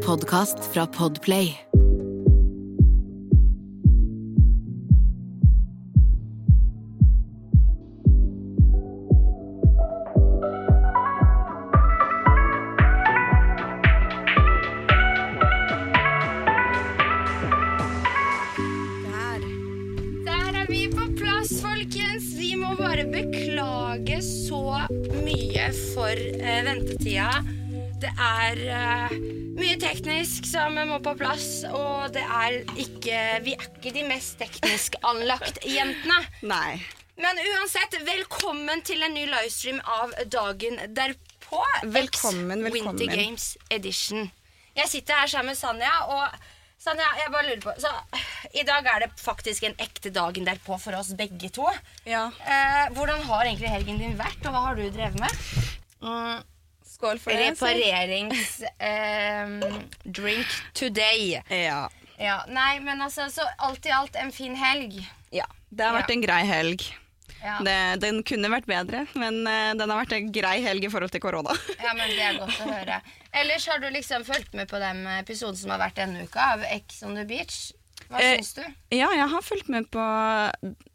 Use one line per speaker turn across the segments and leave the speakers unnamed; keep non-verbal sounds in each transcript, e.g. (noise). podkast fra Podplay.
Der er vi på plass, folkens. Vi må bare beklage så mye for eh, ventetida. Det er eh, mye teknisk som må på plass, og det er ikke Vi er ikke de mest teknisk anlagt jentene.
Nei.
Men uansett, velkommen til en ny livestream av Dagen derpå.
Velkommen,
Ex-
velkommen.
Winter Games Edition. Jeg sitter her sammen med Sanja, og Sanja, jeg bare lurer på så, I dag er det faktisk en ekte Dagen derpå for oss begge to.
Ja.
Eh, hvordan har egentlig helgen din vært, og hva har du drevet med?
Skål for det. Siri.
Reparerings-drink ehm, today.
Ja.
Ja, nei, men altså, så alt i alt en fin helg.
ja. Det har vært
Ja.
en grei helg.
Ja.
Det, den kunne vært bedre, men eh, den har vært en grei helg i forhold til
(laughs)
korona.
Ja, men Det er godt å høre. Ellers har du liksom fulgt med på den episoden som har vært denne uka, av Ex on the beach. Hva
Eh,
syns du?
ja, jeg har fulgt med på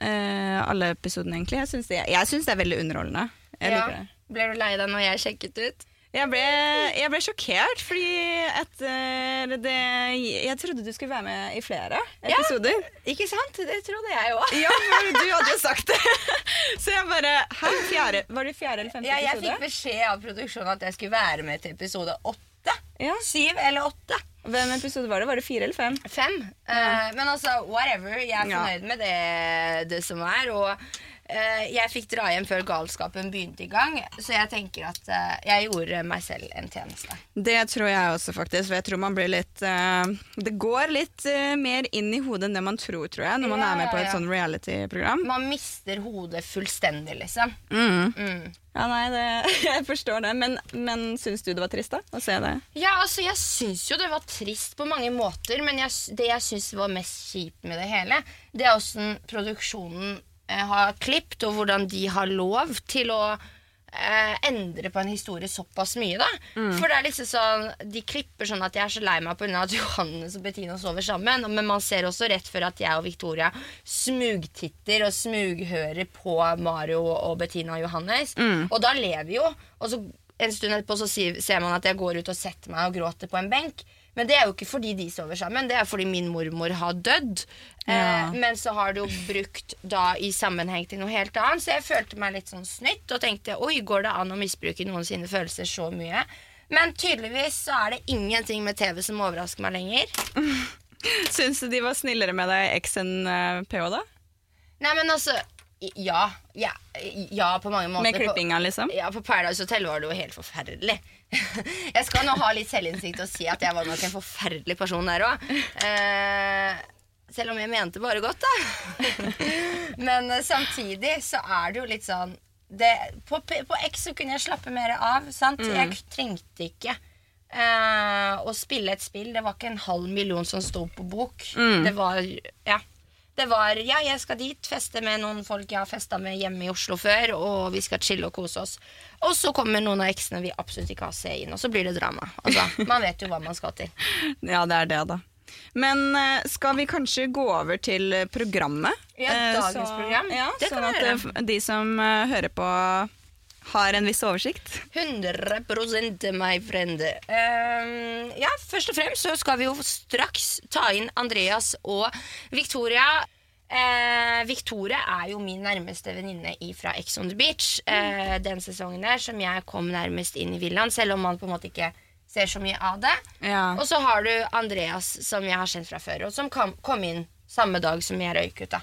eh, alle episodene, egentlig. Jeg syns det, jeg syns det er veldig underholdende. Jeg
Ja.
liker det.
Ble du lei deg når jeg sjekket ut?
Jeg ble, jeg ble sjokkert, fordi etter det Jeg trodde du skulle være med i flere episoder.
Ikke sant? Det trodde jeg òg.
Ja, for du hadde jo sagt det. (laughs) Så jeg bare Hæ? Fjerde, var det fjerde eller
(laughs)
femte
Ja, jeg
episode?
fikk beskjed av produksjonen at jeg skulle være med til episode åtte.
Ja.
Syv eller åtte.
Hvem episode var det? Var det fire eller fem?
Fem. Eh, men altså, whatever. Jeg er
Ja.
fornøyd med det, det som er. Og eh, jeg fikk dra hjem før galskapen begynte i gang, så jeg tenker at eh, jeg gjorde meg selv en tjeneste.
Det tror jeg også, faktisk. For jeg tror man blir litt eh, Det går litt eh, mer inn i hodet enn det man tror, tror jeg, når man
Ja,
er med på
ja,
et
ja.
sånn reality-program.
Man mister hodet fullstendig, liksom.
Mm.
Mm.
Ja, nei, det, (laughs) jeg forstår det. Men, men syns du det var trist, da? Å se det?
Ja, altså, jeg syns jo det var trist på mange måter, men jeg, s- det jeg syns var mest kjipt med det hele, det er åssen produksjonen eh, har klippet, og hvordan de har lov til å eh, endre på en historie såpass mye, da. For det er liksom sånn De klipper sånn at jeg er så lei meg pga. at (laughs) Johannes og Bettina sover sammen, men man ser også rett før at jeg og Victoria smugtitter og smughører på Mario og Bettina og Johannes, og da ler vi jo. Og så en stund etterpå så sier- ser man at jeg går ut og setter meg og gråter på en benk. Men det er jo ikke fordi de sover sammen, det er fordi min mormor har dødd.
Ja.
Eh, men så har det jo brukt da i sammenheng til noe helt annet. Så jeg følte meg litt sånn snytt og tenkte oi, går det an å misbruke noen sine følelser så mye? Men tydeligvis så er det ingenting med TV som overrasker meg lenger.
Syns du de var snillere med deg i X enn eh, PH, da?
Nei, men altså i- Ja. Ja, ja på mange måter.
Med
På-
klippinga, liksom?
Ja, på Paradise Hotel var det jo helt forferdelig. (laughs) Jeg skal nå ha litt selvinnsikt og si at jeg var nok en forferdelig person der òg. Eh, selv om jeg mente bare godt, da. (laughs) Men eh, samtidig så er det jo litt sånn det, på, P- på X så kunne jeg slappe mer av. sant? Jeg k- trengte ikke eh, å spille et spill. Det var ikke en halv million som sto på bok. Det var Ja. Det var ja, jeg skal dit, feste med noen folk jeg har festa med hjemme i Oslo før, og vi skal chille og kose oss. Og så kommer noen av eksene vi absolutt ikke har sett inn, og så blir det drama. Altså, man vet jo hva man skal til.
Ja, det er det, da. Men eh, skal vi kanskje gå over til eh, programmet?
Ja,
Eh,
dagens program.
Ja,
Det kan
sånn at
vi
eh, f- de som eh, hører på, har en viss oversikt.
100 my friend. Ehm, ja, først og fremst så skal vi jo straks ta inn Andreas og Victoria. Eh, Victoria er jo min nærmeste venninne i- fra Ex on the Beach. eh,
Mm.
den sesongen der som jeg kom nærmest inn i villaen, selv om man på en måte ikke ser så mye av det.
Ja.
Og så har du Andreas, som jeg har kjent fra før, og som kom, kom inn samme dag som jeg røyk ut. da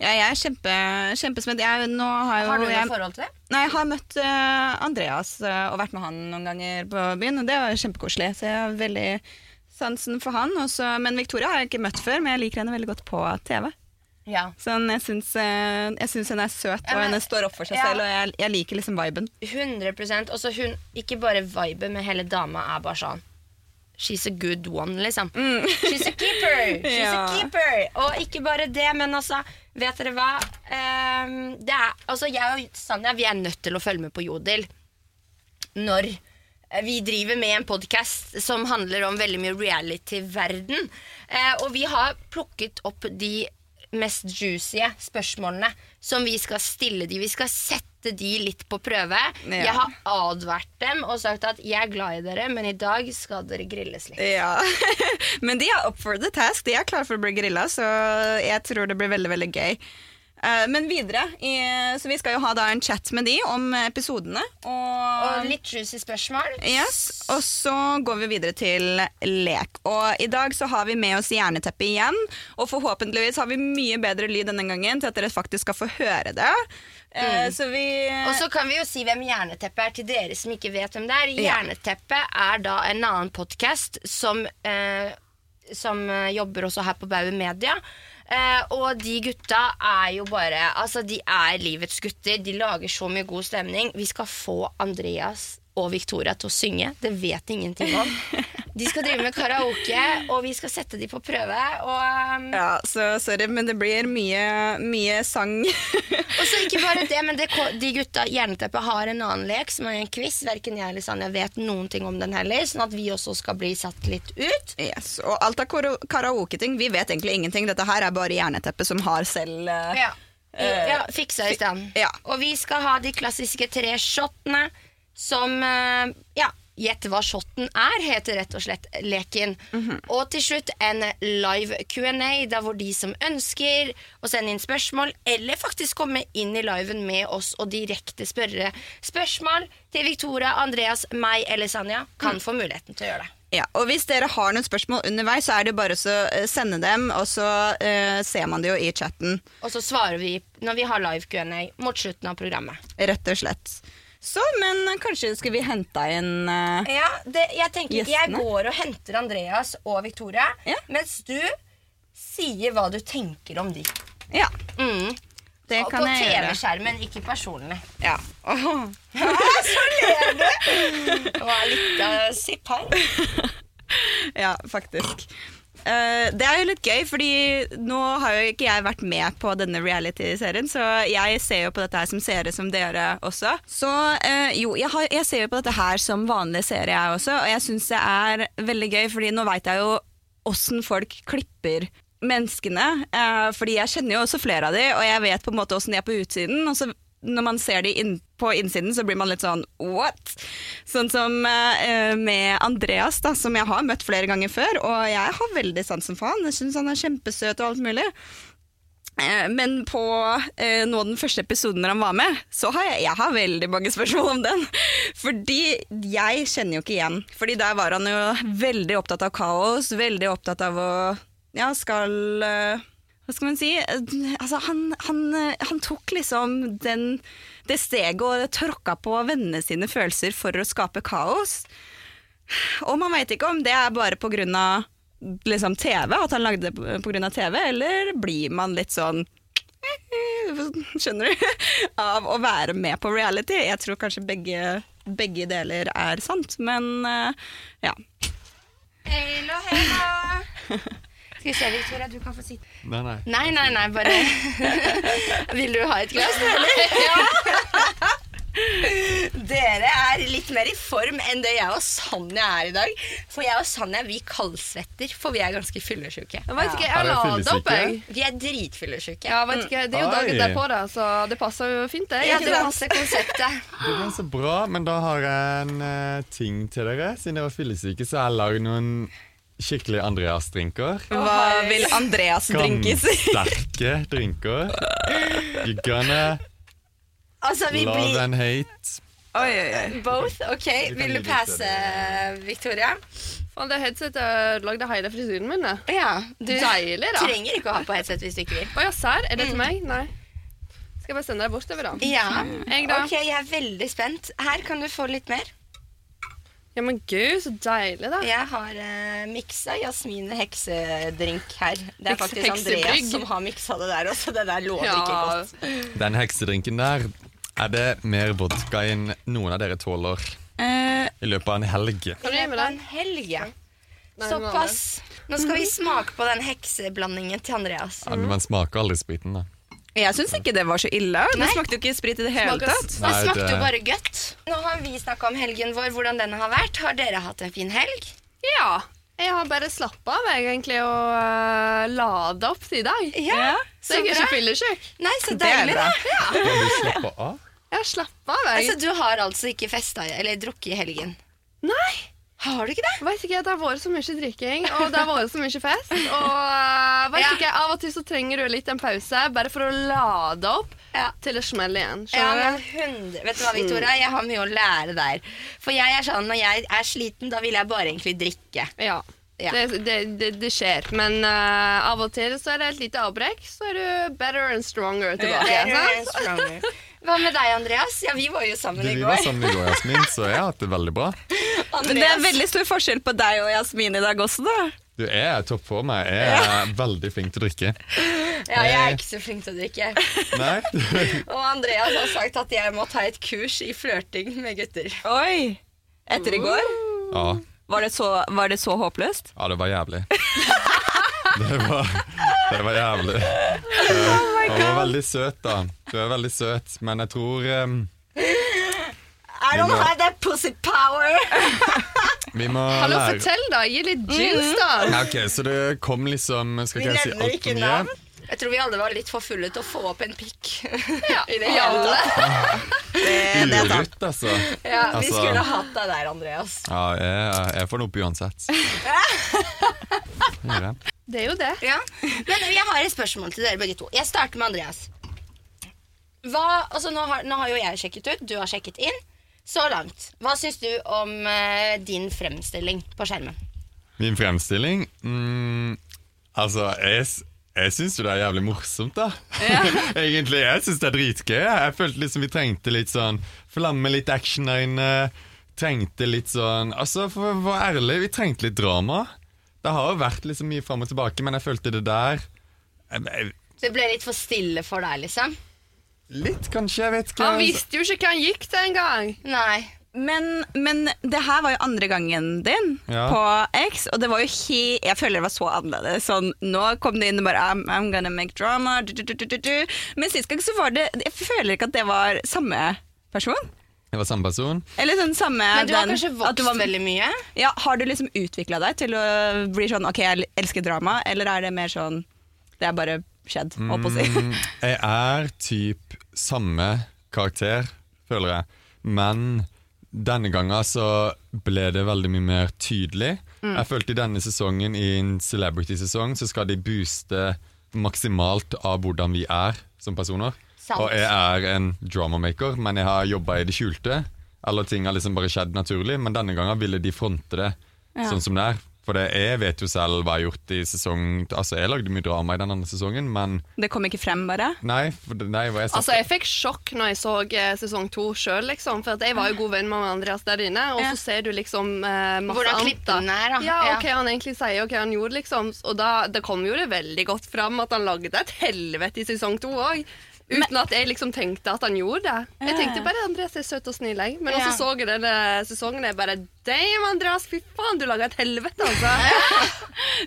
Ja, jeg er kjempe, kjempespent. Jeg, nå har, jo,
Har du noe
jeg,
forhold til det?
Nei, jeg har møtt eh, Andreas eh, og vært med han noen ganger på byen, og det var kjempekoselig. Så jeg har veldig sansen for han. og så- men Victoria har jeg ikke møtt før, men jeg liker henne veldig godt på TV.
Ja
Sånn, jeg syns eh, jeg syns henne er søt,
Ja,
og
men-
henne står opp for seg
ja.
selv, og jeg, jeg liker liksom viben.
100 Også hun, ikke bare viben, men hele dama er bare sånn She's a good one, liksom. She's a keeper! She's
Ja.
a keeper! Og ikke bare det, men altså, vet dere hva? Ehm, det er, altså, jeg og Sanja vi er nødt til å følge med på Jodel når eh, vi driver med en podkast som handler om veldig mye reality-verden. Eh, og vi har plukket opp de mest juicy spørsmålene som vi skal stille de. Vi skal sette de litt på prøve.
Ja.
Jeg har advart dem og sagt at jeg er glad i dere, men i dag skal dere grilles litt.
Ja, (laughs) Men de er up for the task. De er klare for å bli grilla, så jeg tror det blir veldig veldig gøy. Eh, Men videre, i, så vi skal jo ha da en chat med de om episodene.
Og
Og,
litt juicy spørsmål.
yes, og så går vi videre til lek. Og i dag så har vi med oss Hjerneteppet igjen. Og forhåpentligvis har vi mye bedre lyd denne gangen til at dere faktisk skal få høre det. Eh, Så vi
Mm. Og så kan vi jo si hvem Jerneteppet er til dere som ikke vet hvem det er.
Ja.
Jerneteppet er da en annen podkast som, eh, som eh, jobber også her på Bauer Media. Eh, og de gutta er jo bare Altså, de er livets gutter. De lager så mye god stemning. Vi skal få Andreas og Victoria til å synge. Det vet de ingenting
(laughs)
om. De skal drive med karaoke, og vi skal sette de på prøve. Og um,
Ja, så sorry, men det blir mye, mye sang. (laughs)
Og så ikke bare det, men det, ko- de gutta Jerneteppet har en annen lek som er en quiz. Verken jeg eller Sanja vet noen ting om den heller, sånn at vi også skal bli satt litt ut.
Yes, og alt av koro- karaoke-ting, vi vet egentlig ingenting. Dette her er bare jerneteppet som har selv eh,
Ja,
Eh,
ja fiksa i stand.
ja.
Og vi skal ha de klassiske tre shotene som eh, Ja, gjett hva shoten er, heter rett og slett leken.
Mhm.
Og til slutt en live Q&A, der hvor de som ønsker å sende inn spørsmål, eller faktisk komme inn i liven med oss og direkte spørre spørsmål til Victoria, Andreas, meg eller Sanja, kan
Mm.
få muligheten til å gjøre det.
Ja, og hvis dere har noen spørsmål underveis, så er det jo bare å så, eh, sende dem, og så eh, ser man det jo i chatten,
Og så svarer vi når vi har live Q&A mot slutten av programmet.
rett og slett. Så, men eh, kanskje skulle vi hente inn eh,
Ja, det, jeg tenker Jeg
Gjestene.
går og henter Andreas og Victoria,
Ja.
mens du sier hva du tenker om de.
Ja,
Mm.
det
Og
kan
på
jeg gjøre.
TV-skjermen, ikke personlig.
Ja. Åh.
Det var litt uh, sipp her.
(laughs) Ja, faktisk. Eh, det er jo litt gøy, fordi nå har jo ikke jeg vært med på denne reality-serien, så jeg ser jo på dette her som seere som dere også. Så eh, jo, jeg, har, jeg ser jo på dette her som vanlig seere jeg også, og jeg syns det er veldig gøy, fordi nå veit jeg jo åssen folk klipper menneskene. eh, fordi jeg kjenner jo også flere av de, og jeg vet på en måte åssen de er på utsiden. og så når man ser de inn, på innsiden, så blir man litt sånn what? Sånn som eh, med Andreas, da, som jeg har møtt flere ganger før. Og jeg har veldig sansen for han. Jeg syns han er kjempesøt og alt mulig. Eh, Men på eh, nå den første episoden når han var med, så har jeg, jeg har veldig mange spørsmål om den. (laughs) Fordi jeg kjenner jo ikke igjen. Fordi der var han jo veldig opptatt av kaos, veldig opptatt av å Ja, skal eh, Hva skal man si? Eh, Altså, han, han, eh, han tok liksom den, det steget og tråkka på vennene sine følelser for å skape kaos. Og man veit ikke om det er bare pga. Liksom TV, at han lagde det pga. TV, eller blir man litt sånn (laughs) Skjønner du? (laughs) Av å være med på reality. Jeg tror kanskje begge, begge deler er sant, men eh, ja.
Hello, hello. Skal vi se, Victoria, du kan få sitte.
Nei, nei.
Nei, nei, nei, bare (laughs) Vil du ha et glass, eller? Ja. Dere er litt mer i form enn det jeg og Sanja er i dag. For jeg og Sanja vi kaldsvetter, for vi er ganske fyllesyke.
Jeg vet ikke, jeg
Er det
har
fyllesyke?
lada opp, jeg.
Vi er dritfyllesyke.
Ja, jeg vet ikke, det er jo
Oi.
dagen derpå, da, så det passer jo fint, det.
Ja,
ikke
det
sant?
passer konseptet.
Det er så bra, men da har jeg en eh, ting til dere. Siden dere var fyllesyke, så har jeg lagd noen skikkelig Andreas-drinker.
Hva vil Andreas drinkes?
(laughs) Sterke drinker. You're gonna
Altså, vi
love
blir
and hate.
Oi, oi, oi.
both. Ok,
kan
vil du
lytte
passe, Victoria?
Faen, det headsetet lagde hele frisyren min, det.
Ja, du
Deilig, da.
trenger ikke å ha på headset hvis du ikke vil.
Å ja, serr? Er det til meg? Nei. Skal jeg bare sende deg bortover, da?
Mm. Ja,
Jeg, da.
ok, jeg er veldig spent. Her kan du få litt mer.
Ja, men gud, så deilig, da.
Jeg har eh, miksa Jasmin heksedrink her. Det er
Heks-
faktisk Andreas
heksebrygg.
som har miksa det der også. Det der lover ikke godt.
Den heksedrinken der er det mer vodka enn noen av dere tåler
Eh,
i løpet av en helg.
Kan du gi
Det
meg
var
den?
en helg, ja.
Nei, den var
Såpass. Nå skal vi smake på den hekseblandingen til Andreas.
Ja, men man smaker aldri spriten, da.
Jeg syns ikke det var så ille. Det
Nei.
smakte jo ikke sprit i det hele
Smaker-
tatt.
Det
Nei,
smakte
det-
jo bare godt. Nå har vi snakka om helgen vår, hvordan den har vært. Har dere hatt en fin helg?
Ja. Jeg har bare slappa av, jeg, egentlig, og uh, lada opp til i dag.
Ja,
Så jeg er ikke fyllesyk.
Nei, så
Det er
deilig,
bra.
da.
Kan du slappe av?
Jeg har slappa av, jeg.
Altså, du har altså ikke festa eller drukket i helgen?
Nei!
Har du ikke det?
Vet ikke, Det har vært så mye drikking og det har vært så mye fest. Og uh, vet
Ja.
ikke, Av og til så trenger du litt en pause bare for å lade opp
Ja.
til det smeller igjen.
Ja,
Skjønner
men
du?
100 Vet du hva, Victoria? Jeg har mye å lære der. For jeg er sånn, når jeg er sliten, da vil jeg bare egentlig drikke.
Ja.
Ja.
Det, det, det, det skjer. Men uh, av og til så er det et lite avbrekk, så er du better and stronger tilbake. sant?
(laughs) Hva med deg, Andreas? Ja, vi var jo
Du,
sammen i
vi var
går.
sammen i går, Jasmin, så jeg har hatt det veldig bra.
Men det
Andreas.
er veldig stor forskjell på deg og Jasmin i dag også, da.
Du jeg er topp for meg. Jeg er veldig flink til å drikke.
Ja, jeg er ikke så flink til å drikke.
Nei,
Og Andreas har sagt at jeg må ta et kurs i flørting med gutter.
Oi! Etter i går?
Ja,
Var det så, var det så håpløst?
ja det var jævlig. (laughs) Det var, det var jævlig.
Oh
Hun var veldig søt, da. Du er veldig søt, men jeg tror ehm, em,
I
don't have
that pussy power!
vi må
Hallo,
lære
fortell, da. Gi litt juice, da.
Ja, ok, Så det kom liksom Skal
Vi
ikke jeg si
nevner
alt
ikke
for mye?
navn. Jeg tror vi alle var litt for fulle til å få opp en pikk.
Ja,
I det
ja.
hele tatt. Eh,
Urutt, altså.
Ja, vi
Altså-
skulle hatt deg der, Andreas.
Ja, jeg, jeg får den opp
(laughs)
uansett. Gjør jeg.
Det er jo det.
Ja. Men jeg har et spørsmål til dere begge to. Jeg starter med Andreas. Hva, altså nå, har, nå har jo jeg sjekket ut, du har sjekket inn. Så langt. Hva syns du om eh, din fremstilling på skjermen?
Min fremstilling? Mm, altså, jeg, s- jeg syns jo det er jævlig morsomt, da. (laughs) Egentlig. Jeg syns det er dritgøy. Jeg følte liksom vi trengte litt sånn flamme, litt action der inne. Trengte litt sånn Altså, for å være ærlig, vi trengte litt drama. Det har jo vært liksom mye fram og tilbake, men jeg følte det der jeg, jeg,
Det ble litt for stille for deg, liksom?
Litt, kanskje. Jeg vet ikke.
Han visste jo ikke hva han gikk til engang.
Nei.
Men, men det her var jo andre gangen din
Ja.
på X, og det var jo he Jeg føler det var så annerledes. Sånn, nå kom det inn og bare I'm, I'm gonna make drama. Du, du, du, du, du, du. Men sist gang så var det Jeg føler ikke at det var samme person.
Jeg var samme person.
Eller sånn samme
Men du har
den-
kanskje
at
vokst
du var-
veldig mye?
Ja, har du liksom utvikla deg til å bli sånn OK, jeg elsker drama, eller er det mer sånn Det er bare skjedd, holdt på å si.
Mm, jeg er typ samme karakter, føler jeg. Men denne gangen så ble det veldig mye mer tydelig.
Mm.
Jeg følte i denne sesongen, i en celebrity-sesong, så skal de booste maksimalt av hvordan vi er som personer.
Sant.
Og jeg er en dramamaker, men jeg har jobba i det skjulte. Eller ting har liksom bare skjedd naturlig, men denne gangen ville de fronte det sånn som det er. For det, jeg vet jo selv hva jeg har gjort i sesong Altså, jeg lagde mye drama i den andre sesongen, men
(laughs) Det kom ikke frem, bare.
Nei, for det, nei, hva jeg
Altså, Jeg fikk sjokk når jeg så eh, sesong to sjøl, liksom. For at jeg var jo god venn med Andreas der inne, og
Ja.
så ser du liksom eh, masse
Hvordan
annet, da.
klippen er, da.
Ja,
Ja.
og hva han egentlig sier, og hva han gjorde, liksom. Og da, det kom jo det veldig godt fram at han lagde et helvete i sesong to òg. Uten at jeg liksom tenkte at han gjorde det. Jeg tenkte bare Andreas er søt og snill. Jeg. Men
Ja.
også så jeg denne sesongen, jeg bare Damn, Andreas, fy faen, du laga et helvete, altså.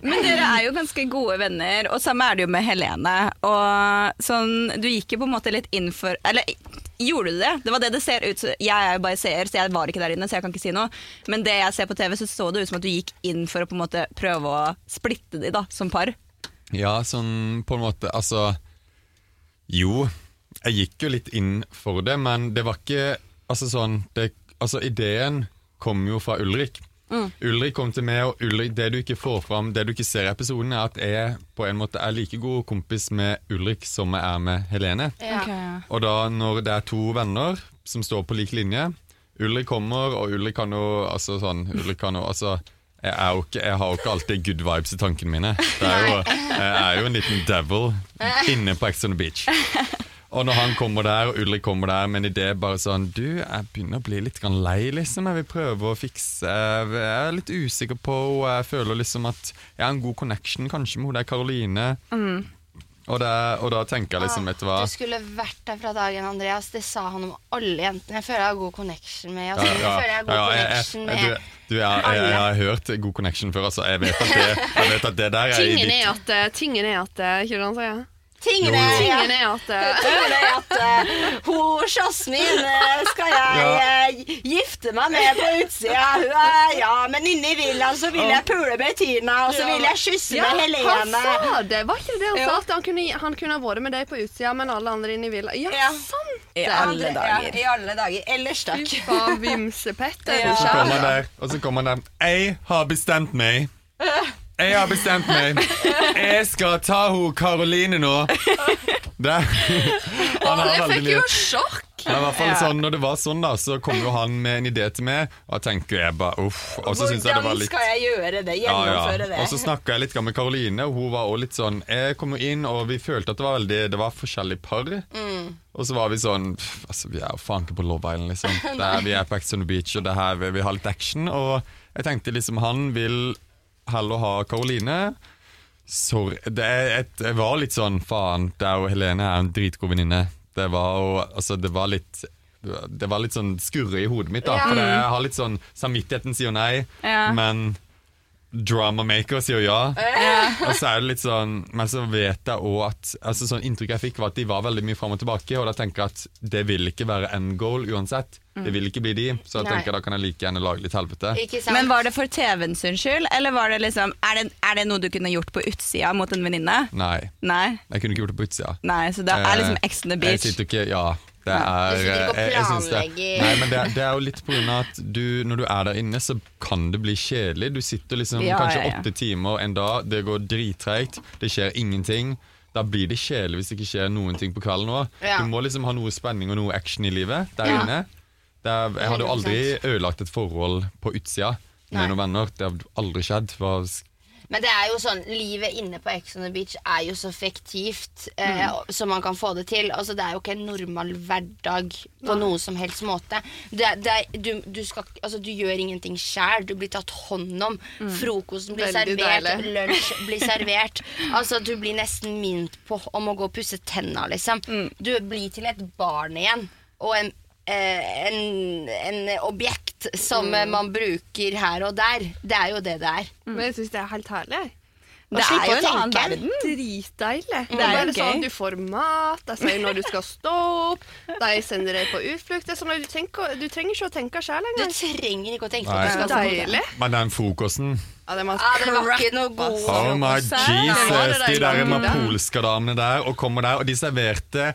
Men dere er jo ganske gode venner, og samme er det jo med Helene. Og sånn, du gikk jo på en måte litt inn for Eller gjorde du det? Det var det det ser ut som. Jeg er jo bare seer, så jeg var ikke der inne, så jeg kan ikke si noe. Men det jeg ser på TV, så så det ut som at du gikk inn for å på en måte prøve å splitte de da, som par.
Ja, sånn på en måte Altså Jo, jeg gikk jo litt inn for det, men det var ikke Altså sånn det, Altså ideen kom jo fra Ulrik. Ulrik kom til meg, og Ulrik, det du ikke får fram, det du ikke ser i episoden, er at jeg på en måte er like god kompis med Ulrik som jeg er med Helene.
(laughs) Ja.
Og da når det er to venner som står på lik linje Ulrik kommer, og Ulrik kan jo altså sånn Ulrik kan jo, altså jeg, er jo ikke, jeg har jo ikke alltid good vibes i tankene mine. Det er jo, jeg er jo en liten devil inne på Ex on the Beach. Og når han kommer der, og Ulrik kommer der med en idé bare sånn Du, jeg begynner å bli litt grann lei, liksom. Jeg vil prøve å fikse Jeg er litt usikker på og Jeg føler liksom at jeg har en god connection kanskje med hun der Karoline. Og, det- og da tenker jeg liksom, vet du hva
Du skulle vært der fra dagen, Andreas. Det sa han om alle jentene. Jeg føler jeg har god connection med
Ja,
Jasmin.
ja,
Jeg Altså, føler jeg har god
ja, ja, jeg-
connection
jeg-
med
du- du, jeg, jeg, jeg, har hørt god connection før, altså. Jeg vet at det, jeg vet at det der er i
tingen,
ditt
er at, eh, tingen er at eh, Hva er det han sier?
Tingene
Jo, jo.
ja.
Tingen er at
(laughs)
eh,
Tingene er at eh, hun Jasmin eh, skal jeg eh, gifte meg med på utsida. Hun er ja, men inni villaen så vil jeg pule med Tina, og så vil jeg kysse med
han
Helene.
sa det! Var ikke det det han
Jo.
sa? At han kunne, han kunne ha vært med deg på utsida, men alle andre inne i villa. Ja,
Ja.
sant!
I
Ja,
alle
det- Ja,
dager.
I alle dager. Ellers
Fy
takk.
faen, vimsepetter.
Ja.
Og så kommer han
Ja.
der, og så kommer han der Jeg har bestemt meg. Jeg har bestemt meg. Jeg skal ta ho Karoline nå. Der. Han har
Jeg
veldig
fikk jo
lyst.
sjokk!
Men i hvert fall sånn, når det var sånn, da, så kom jo han med en idé til meg, og jeg tenker jeg bare uff. Og så syns jeg det var
Hvordan
litt
skal jeg gjøre det?
ja,
Gjennomføre
ja. Og så
det?
snakka jeg litt med Karoline, og hun var også litt sånn Jeg kom jo inn, og vi følte at det var veldig Det var forskjellige par.
Mm.
Og så var vi sånn pff, Altså, vi er jo faen ikke på Love Island, liksom.
(laughs)
Det er, vi er på Ex on the Beach, og det her vi, vi har litt action. Og jeg tenkte liksom Han vil heller ha Karoline. Sorry. Det er et, jeg var litt sånn Faen, det er jo Helene er en dritgod venninne. Det var jo Altså, det var litt det var litt sånn skurre i hodet mitt, da. For jeg har litt sånn Samvittigheten sier nei,
Ja.
men Dramamaker sier ja. Og så er det litt sånn Men så vet jeg òg at altså sånn Inntrykket jeg fikk, var at de var veldig mye fram og tilbake. Og da tenker jeg at det vil ikke være end goal uansett. Det vil ikke bli de. Så jeg
Nei.
tenker da kan jeg like gjerne lage litt helvete.
Ikke sant?
Men var det for TV-en sin skyld, eller var det liksom, er, det, er det noe du kunne gjort på utsida mot en venninne?
Nei.
Nei.
Jeg kunne ikke gjort det på utsida.
Nei, så det er liksom
Eh,
Ex on the
Jeg
Beach.
sitter ikke Ja. Det er, eh,
Du sitter ikke og
jeg- jeg syns
planlegger.
det, nei, men det, er- det er jo litt på grunn av at du, når du er der inne, så kan det bli kjedelig. Du sitter liksom
Ja,
kanskje
ja, ja.
åtte timer en dag, det går drittreigt, det skjer ingenting. Da blir det kjedelig hvis det ikke skjer noen ting på kvelden òg.
Ja.
Du må liksom ha noe spenning og noe action i livet der
Ja.
inne. Det er, jeg hadde jo aldri ødelagt et forhold på utsida
Nei.
med noen venner. Det hadde aldri skjedd. Det var
Men det er jo sånn, livet inne på Ex on the Beach er jo så fiktivt eh,
Mm.
som man kan få det til. Altså, det er jo ikke en normal hverdag på noen som helst måte. Det, det, er- du, du, skal, ikke- altså, du gjør ingenting sjæl. Du blir tatt hånd om. Frokosten blir
Mm. Veldig
servert.
deilig.
Lunsj
(laughs)
blir servert. Altså, du blir nesten mint på om å gå og pusse tenna, liksom.
Mm.
Du blir til et barn igjen. Og en eh, en, en objekt som
Mm.
eh, man bruker her og der. Det er jo det det er.
Men jeg syns det er helt herlig.
Det
slipp
er jo
å
en annen
tenke.
verden.
Dritdeilig. Det
er
er
jo
bare sånn
gøy.
at du får mat, de sier når du skal stå opp, de sender deg på utflukt. Det er sånn at du, tenker, du trenger ikke å tenke sjøl
Du
engang.
trenger ikke å tenke på
Nei.
at du skal
Deilig.
Men den frokosten
Ja, det var
Ja, det var ikke noe god
Oh my
Frokost her,
da.
Jesus, de
Det var det
der
de lagde.
mapolske damene der, og kommer der, og de serverte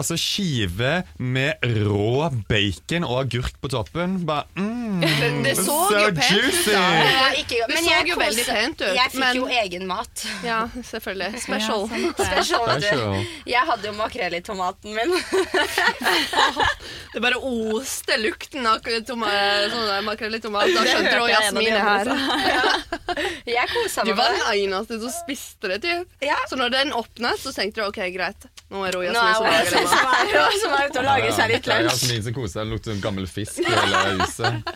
Altså skive med rå bacon og agurk på toppen. Bare mm,
Det, det så
so
jo pent ut.
juicy!
da.
Ja, ikke,
Det
men
så
jeg
jo
koser-
veldig pent ut,
Jeg fikk
men-
jo egen mat. (laughs)
Ja, selvfølgelig. Special.
Special.
Special.
Jeg hadde jo makrell i tomaten min. (laughs)
Det bare oste lukten av toma- sånn der makrell i tomat. Da skjønte du
hørte
at
jeg en av de
Jasmin er her.
andre
Jeg kosa
Du
meg
var
med det.
den eneste som spiste det, typ.
Ja.
Så når den åpnet, så tenkte du OK, greit. Nå er det
Nå
Jasmin
er
som
hun
lager det. mat».
som er, (laughs) som er ute og lager seg litt
Ja,
lunsj.
Jasmin som koser seg, det lukter som gammel fisk i hele huset.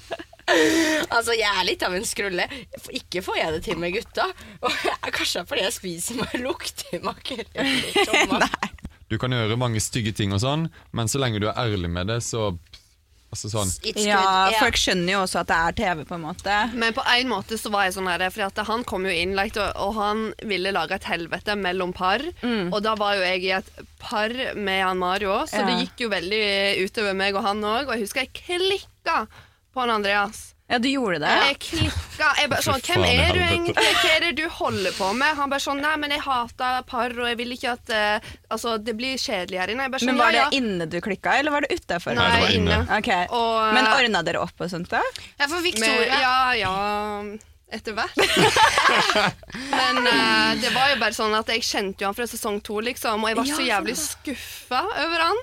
Altså, Jeg er litt av en skrulle. For- Ikke får jeg det til med gutta. (laughs) Og jeg- Kanskje det er fordi jeg spiser meg lukter makrell i tomat.
Du kan gjøre mange stygge ting og sånn, men så lenge du er ærlig med det, så Altså sånn
(laughs)
It's
Ja,
good.
folk skjønner jo også at det er TV, på en måte.
Men på en måte så var jeg sånn her, fordi at han kom jo inn like, og, og han ville lage et helvete mellom par. Og da var jo jeg i et par med han Mario, så
Ja.
det gikk jo veldig utover meg og han òg. Og jeg husker jeg klikka på han Andreas.
Ja, du gjorde det.
Jeg klikka. Jeg bare sånn,
Fy
Hvem
faen,
er du
helvete.
egentlig? Hva er det du holder på med? Han bare sånn Nei, men jeg hater par, og jeg vil ikke at eh, Altså, det blir kjedelig her inne. Jeg bare
Men
sånn,
var det
ja, ja.
inne du klikka, eller var det utafor?
Nei, det var inne.
Ok.
Og- eh,
Men ordna dere opp og sånt, da?
Ja, for
Med,
Victoria
ja, ja etter
(laughs)
hvert. Men eh, det var jo bare sånn at jeg kjente jo han fra sesong to, liksom, og jeg var så jævlig skuffa over han.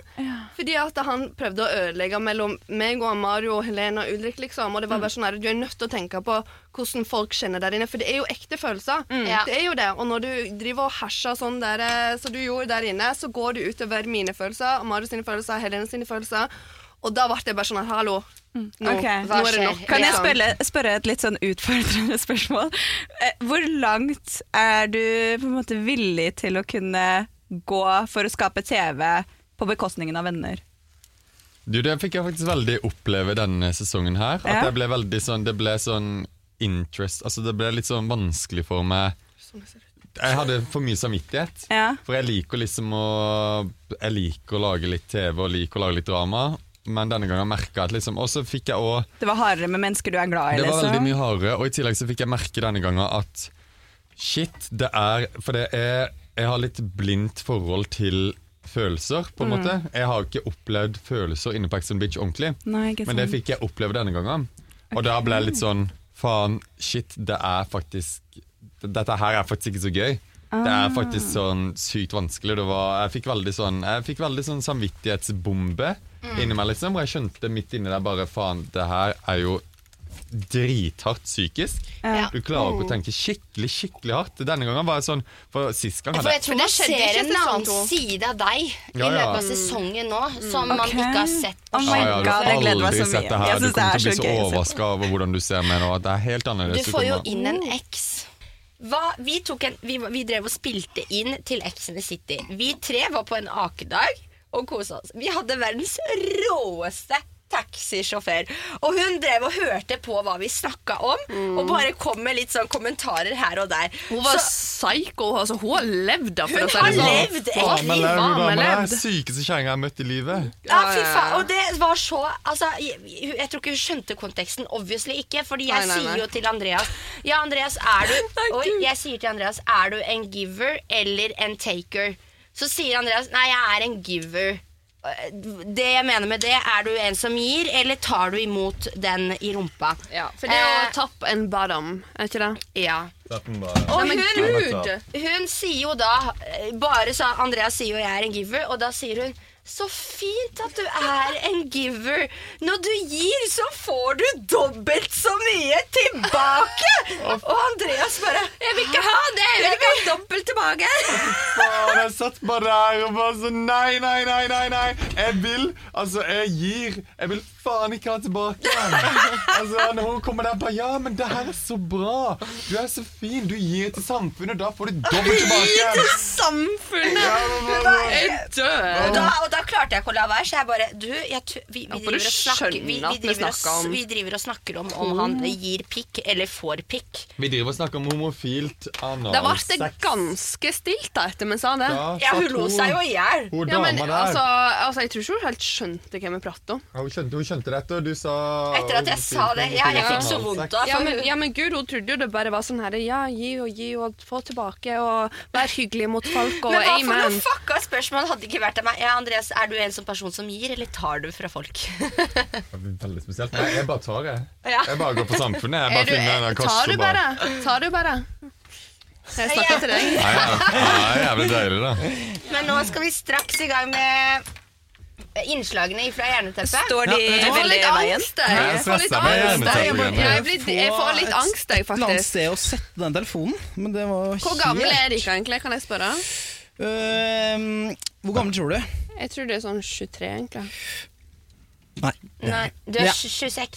Fordi at han prøvde å ødelegge mellom meg og Mario og Helene og Ulrik, liksom. Og det
Mm.
var bare sånn her, du er nødt til å tenke på hvordan folk kjenner der inne, for det er jo ekte følelser.
Mm. Ja.
Det er jo det. Og når du driver og herser sånn der, eh, som du gjorde der inne, så går du utover mine følelser, Mario sine følelser, Helene sine følelser. Og da ble det bare sånn her, hallo.
Mm.
Nå,
Ok.
nå er det nok.
Kan jeg
liksom.
spørre, spørre et litt sånn utfordrende (laughs) spørsmål? Eh, Hvor langt er du på en måte villig til å kunne gå for å skape TV på bekostningen av venner?
Du, det fikk jeg faktisk veldig oppleve denne sesongen her. At
Ja.
jeg ble veldig sånn, det ble sånn interest Altså det ble litt sånn vanskelig for meg Jeg hadde for mye samvittighet.
Ja.
For jeg liker liksom å Jeg liker å lage litt TV og liker å lage litt drama. Men denne gangen merka jeg at liksom Og så fikk jeg òg
Det var hardere med mennesker du er glad i,
Det var
liksom.
veldig mye hardere, og i tillegg så fikk jeg merke denne gangen at shit, det er For det er Jeg har litt blindt forhold til følelser, på
Mm.
en måte. Jeg har ikke opplevd følelser inne på Exxon Beach ordentlig,
Nei, ikke sant.
men det fikk jeg oppleve denne gangen. Og da ble jeg litt sånn Faen, shit, det er faktisk Dette her er faktisk ikke så gøy. Det er faktisk
Ah.
sånn sykt vanskelig. Det var, jeg fikk veldig sånn Jeg fikk veldig sånn samvittighetsbombe
Mm.
inni meg, liksom. Og jeg skjønte midt inni der bare Faen, det her er jo drithardt psykisk.
Ja.
Du klarer
Mm.
ikke å tenke skikkelig skikkelig hardt. Denne gangen var jeg sånn For sist gang
For
hadde
jeg
jeg
tror
det
man
skjedde
ser
ikke
en
sesong
annen
to. Mm.
side av deg i
Ja, ja.
løpet av sesongen nå, som man
Ok.
ikke har sett. på
Oh my
skjermen.
God, jeg gleder meg så mye.
sett det
Jeg
her. Du
synes det
kommer
er
til å bli
så
så,
gøy å se på.
overraska over hvordan du ser meg nå. at Det er helt annerledes.
Du får jo
kommer-
inn en
Mm.
X. Hva, vi, tok en, vi, vi drev og spilte inn til X in the City. Vi tre var på en akedag og kosa oss. Vi hadde verdens råeste taxisjåfør. Og hun drev og hørte på hva vi snakka om, og bare kom med litt sånn kommentarer her og der.
Mm. Hun var
Så
psycho. Altså, hun har levd, da, for
Hun
å si
har
det sånn.
levd
Faen,
et
Faen, men
liv.
det er jo
Faen,
damen
jeg
der.
levd.
Sykeste kjerringa jeg har møtt i livet.
Ja,
Ja,
fy
ja, ja.
faen. Og det var så altså, jeg, jeg tror ikke hun skjønte konteksten. Obviously ikke. Fordi jeg
Nei, nei, nei.
sier jo til Andreas Ja, Andreas,
(laughs)
er du Oi, Jeg sier til Andreas Er du en giver eller en taker? Så sier Andreas Nei, jeg er en giver. Det jeg mener med det, er du en som gir, eller tar du imot den i rumpa?
Ja, for det å
Eh,
tappe en badam, er ikke det?
ja.
Nei,
Og
men
hun
gud!
hun sier jo da eh, bare sa, Andreas sier jo jeg er en giver, og da sier hun så fint at du er en giver. Når du gir, så får du dobbelt så mye tilbake! Og Andreas bare Jeg vil ikke ha det! Jeg vil ikke ha dobbelt tilbake!
Faen, jeg satt bare der og bare sånn Nei, nei, nei, nei. nei Jeg vil, altså, jeg gir. Jeg vil faen ikke ha tilbake. Altså, Når hun kommer der bare Ja, men det her er så bra. Du er så fin. Du gir til samfunnet, da får du dobbelt tilbake.
Samfunnet!
Ja, men, sånn. men, men.
Jeg
Og
dør!
da, og da klarte jeg ikke å la være, så jeg bare Du, jeg, tu- vi, vi,
Håper du
driver og snakker, Mm. vi, vi,
skjønner at vi
driver og, s-
snakker om-
vi driver og snakker om om han gir pikk eller får pikk.
Vi driver og snakker om homofilt
Da ble det
analsex.
ganske stilt da, etter vi sa det.
Da
Ja, hun
satt
lo seg jo i hjel.
Hun
Ja, men
dama der.
altså, altså, Jeg tror ikke hun helt skjønte hva vi pratet om.
hun, skjønte, hun skjønte dette, og du sa
Etter at jeg sa det. Ja, jeg fikk så vondt av
Ja men, ja, men gud, hun trodde jo det bare var sånn her Ja, gi og gi og få tilbake og vær hyggelig mot folk og
Men hva for
amen.
noe fucka spørsmål hadde ikke vært av meg? Ja, Andreas, er du en sånn person som gir, eller tar du fra folk? (laughs)
Det er Veldig spesielt. Nei, jeg bare tar det.
Ja.
Jeg bare går på samfunnet. Jeg
Er
bare
du,
finner
tar
den
du
korsrobaren.
bare? Tar du bare? Jeg snakker til deg.
Nei, ja. ja, jævlig deilig, da.
Men nå skal vi straks i gang med innslagene fra Jerneteppet.
Står de
Jeg får
veldig
litt
i veien?
angst, jeg. Jeg får litt
stresser meg
angst,
gjerne,
jeg.
Tete Grønne.
Jeg blir- Jeg får litt angst, jeg,
Et eller annet
faktisk.
sted å sette den telefonen. Men det var
Hvor gammel er Erika egentlig, kan jeg spørre?
Øhm, eh, hvor gammel tror du?
Jeg tror det er sånn 23, egentlig.
Nei,
Nei, du er
Ja.
26.
jeg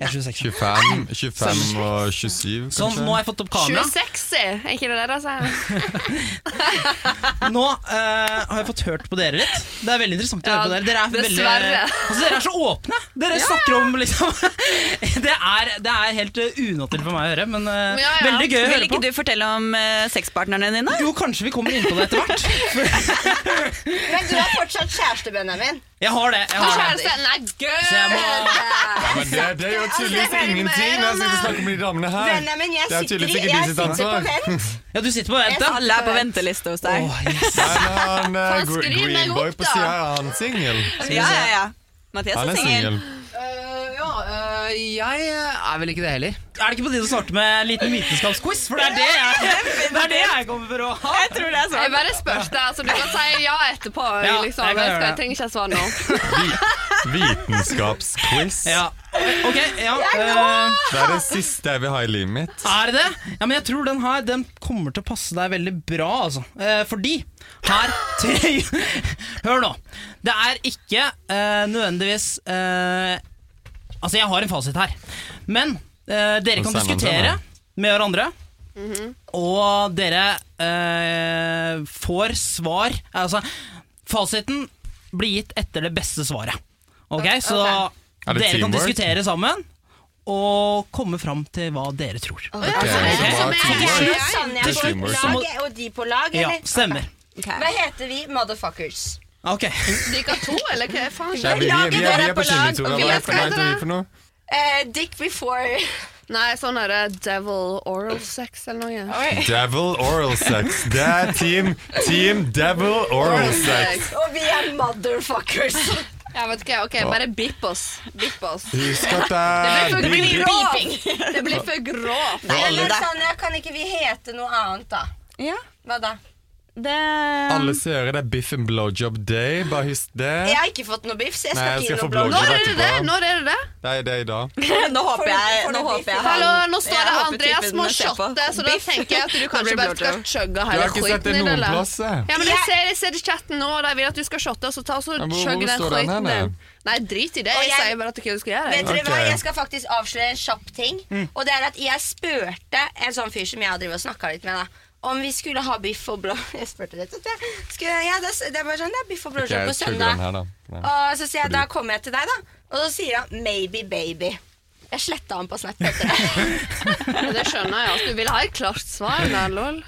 er 26.
25, 25 og 27,
Sånn, nå har jeg fått opp kamera.
26, er er ikke det der, altså?
Nå eh, har jeg fått hørt på dere litt. Det er veldig interessant å
Ja,
høre på dere. Dere er, veldig,
dessverre.
altså, dere er så åpne. Dere snakker om liksom (laughs) det er, det er helt eh, unaturlig for meg å høre, men eh,
Ja, ja.
veldig gøy å
Vil
høre
ikke
på.
du fortelle om eh, sexpartnerne dine?
Jo, kanskje vi kommer inn på det etter hvert.
(laughs)
Men du har fortsatt kjæreste, Benjamin.
Jeg har det. Jeg har det.
Kjæreste, nei,
Så
gud!
jeg må,
Ja, men det, det gjør tydeligvis
Altså, jeg er
ingenting når jeg sitter og snakker med de damene her.
Benjamin, jeg
Det er
sitter,
tydeligvis
i-
ikke
jeg
deres
sitter på
ansvar.
vent.
ja, du sitter på vent, ja?
Alle er på venteliste hos deg.
Åh, yes.
Nei, men han eh,
Faen,
Gre-
skriv meg
Green Boy
opp,
på
da.
sida er han singel.
ja, ja, ja. Mathias
Han
er
er
singel.
singel.
Eh, ja, eh, jeg er vel ikke det heller.
Er det ikke på tide å starte med en liten vitenskapsquiz? For det er det jeg, det er det jeg kommer for å ha.
Jeg tror det er
Jeg
sånn.
bare spørs deg, altså. Du kan si ja etterpå.
Ja,
liksom.
jeg
jeg,
kan gjøre
skal, jeg
det.
trenger ikke svare nå.
Vi- Vitenskapsquiz.
Ja. Ok, ja. eh,
Det er det siste jeg vil ha i livet mitt.
Er det det? Ja, men jeg tror den her den kommer til å passe deg veldig bra, altså. Eh, fordi her til (laughs) Hør nå. Det er ikke eh, nødvendigvis eh, Altså, jeg har en fasit her. Men eh, dere kan
Og Simon
diskutere
Simon.
med hverandre. Og dere eh, får svar Altså, fasiten blir gitt etter det beste svaret. Ok, så
Er det
dere kan
teamwork?
diskutere sammen. å komme fram til hva dere tror.
Altså,
så det er
Som
sånn
smart
er
teamwork.
jeg og Sanja
Det er
på
teamwork.
et lag, og de på lag,
Ja,
eller?
stemmer.
Hva heter vi? Motherfuckers.
Ok.
Dere to, eller hva faen?
Ja, vi, vi, vi, er- vi er på
Laget dere
kinotur.
på lag, og
Hva
vi
heter hva heter vi for noe?
Eh, dick before (laughs)
Nei, sånn derre devil oral sex eller noe.
Devil oral sex. Det er team, team devil oral sex.
Og vi er motherfuckers.
Jeg vet ikke, ok, bare bip oss. Bip oss.
Husk at det er
Det blir
big, big.
for grovt! Det blir for grovt.
Nei,
alle
men
der.
Sanja, kan ikke vi hete noe annet, da?
Ja,
Hva da?
det
Alle seere, det er biff and blowjob day. Bare husk det.
Jeg har ikke fått noe biff, så jeg
Nei,
skal
jeg
ikke gi
skal
noe
få
blogg.
blogg.
Når er det det? Når er det det?
Nei, det er i dag.
(laughs) Nå håper jeg,
Får du- får
nå
du
håper jeg han-
Hallo, nå står
jeg
det
håper
Andreas
typen
må
ser på.
shotte, så da tenker jeg at
(laughs)
du kanskje
blir
bare skal chugge
Du
hele
har ikke sett
skiten
det
din,
noen
eller?
plass, eh? jeg.
Ja, men jeg ser, jeg ser i chatten nå, og de vil at du skal shotte, og så ta og så
Men hvor-
chugg
hvor
den
står den
skiten
henne?
din. Nei, drit i det.
Og
Jeg
jeg-
sier bare at hva du skal gjøre.
Vet dere hva,
Ok. Mm.
Jeg skal faktisk avsløre en kjapp ting. Og det er at Jeg spurte en sånn fyr som jeg har drevet og snakka litt med, da, om vi skulle ha biff og blå (laughs) Jeg spurte rett og slett. jeg. Skulle, ja, det, det var sånn, det er biff og blåskjell
Jeg
på
chugger
søndag.
den her, da. Ja.
Og så sier jeg, da kommer jeg til deg, da. Og så sier han maybe baby. Jeg sletta han på Snap etter
(laughs)
det.
Ja, Det skjønner jeg. Altså, du vil ha et klart svar. Da, lol.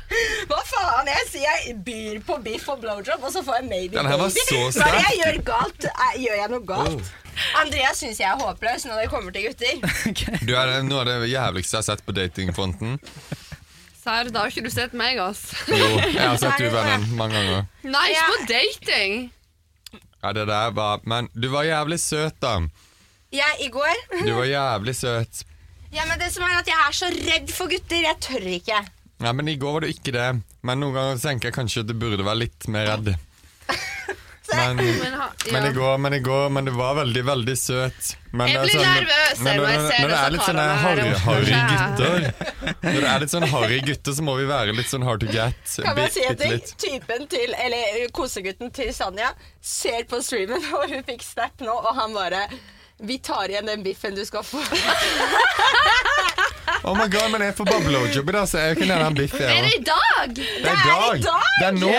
Hva faen? Jeg sier jeg byr på biff og blowjob, og så får jeg maybe
Den her var
baby. Hva er
så
det jeg
sterk. Oh.
gjør galt? Er- Gjør jeg noe galt? Andreas syns jeg er håpløs når det kommer til gutter.
Du er det- noe av det jævligste jeg har sett på datingfronten.
Serr, da har ikke du sett meg, ass. (laughs)
Jo, jeg har sett du vennen mange ganger.
Nei, ikke på dating.
Ja, det der var Men du var jævlig søt, da.
Jeg i går
Du var jævlig søt.
Ja, men det som er at Jeg er så redd for gutter. Jeg tør ikke.
Nei, men I går var du ikke det. Men noen ganger tenker jeg kanskje at du burde være litt mer redd.
(laughs)
Men,
Men, ha, ja.
men i går, men i går Men det var veldig, veldig søt. Men
Jeg
det er
blir
sånn-
nervøs
men
når jeg ser
når det
disse
er litt sånne
karene her
harry,
og-
harry
Ja.
gutter Når det er litt sånn harry gutter, så må vi være litt sånn hard to get.
Kan
Bi-
man si at
bitte litt.
typen til, eller uh, kosegutten til Sanja ser på streamen, (laughs) og hun fikk snap nå, og han bare Vi tar igjen den biffen du skal få.
Oh my god, men jeg får bare blowjob i dag, så jeg kan gjerne ha en biff.
Er det
Jeg,
i dag?
også. det er i dag! Det er nå!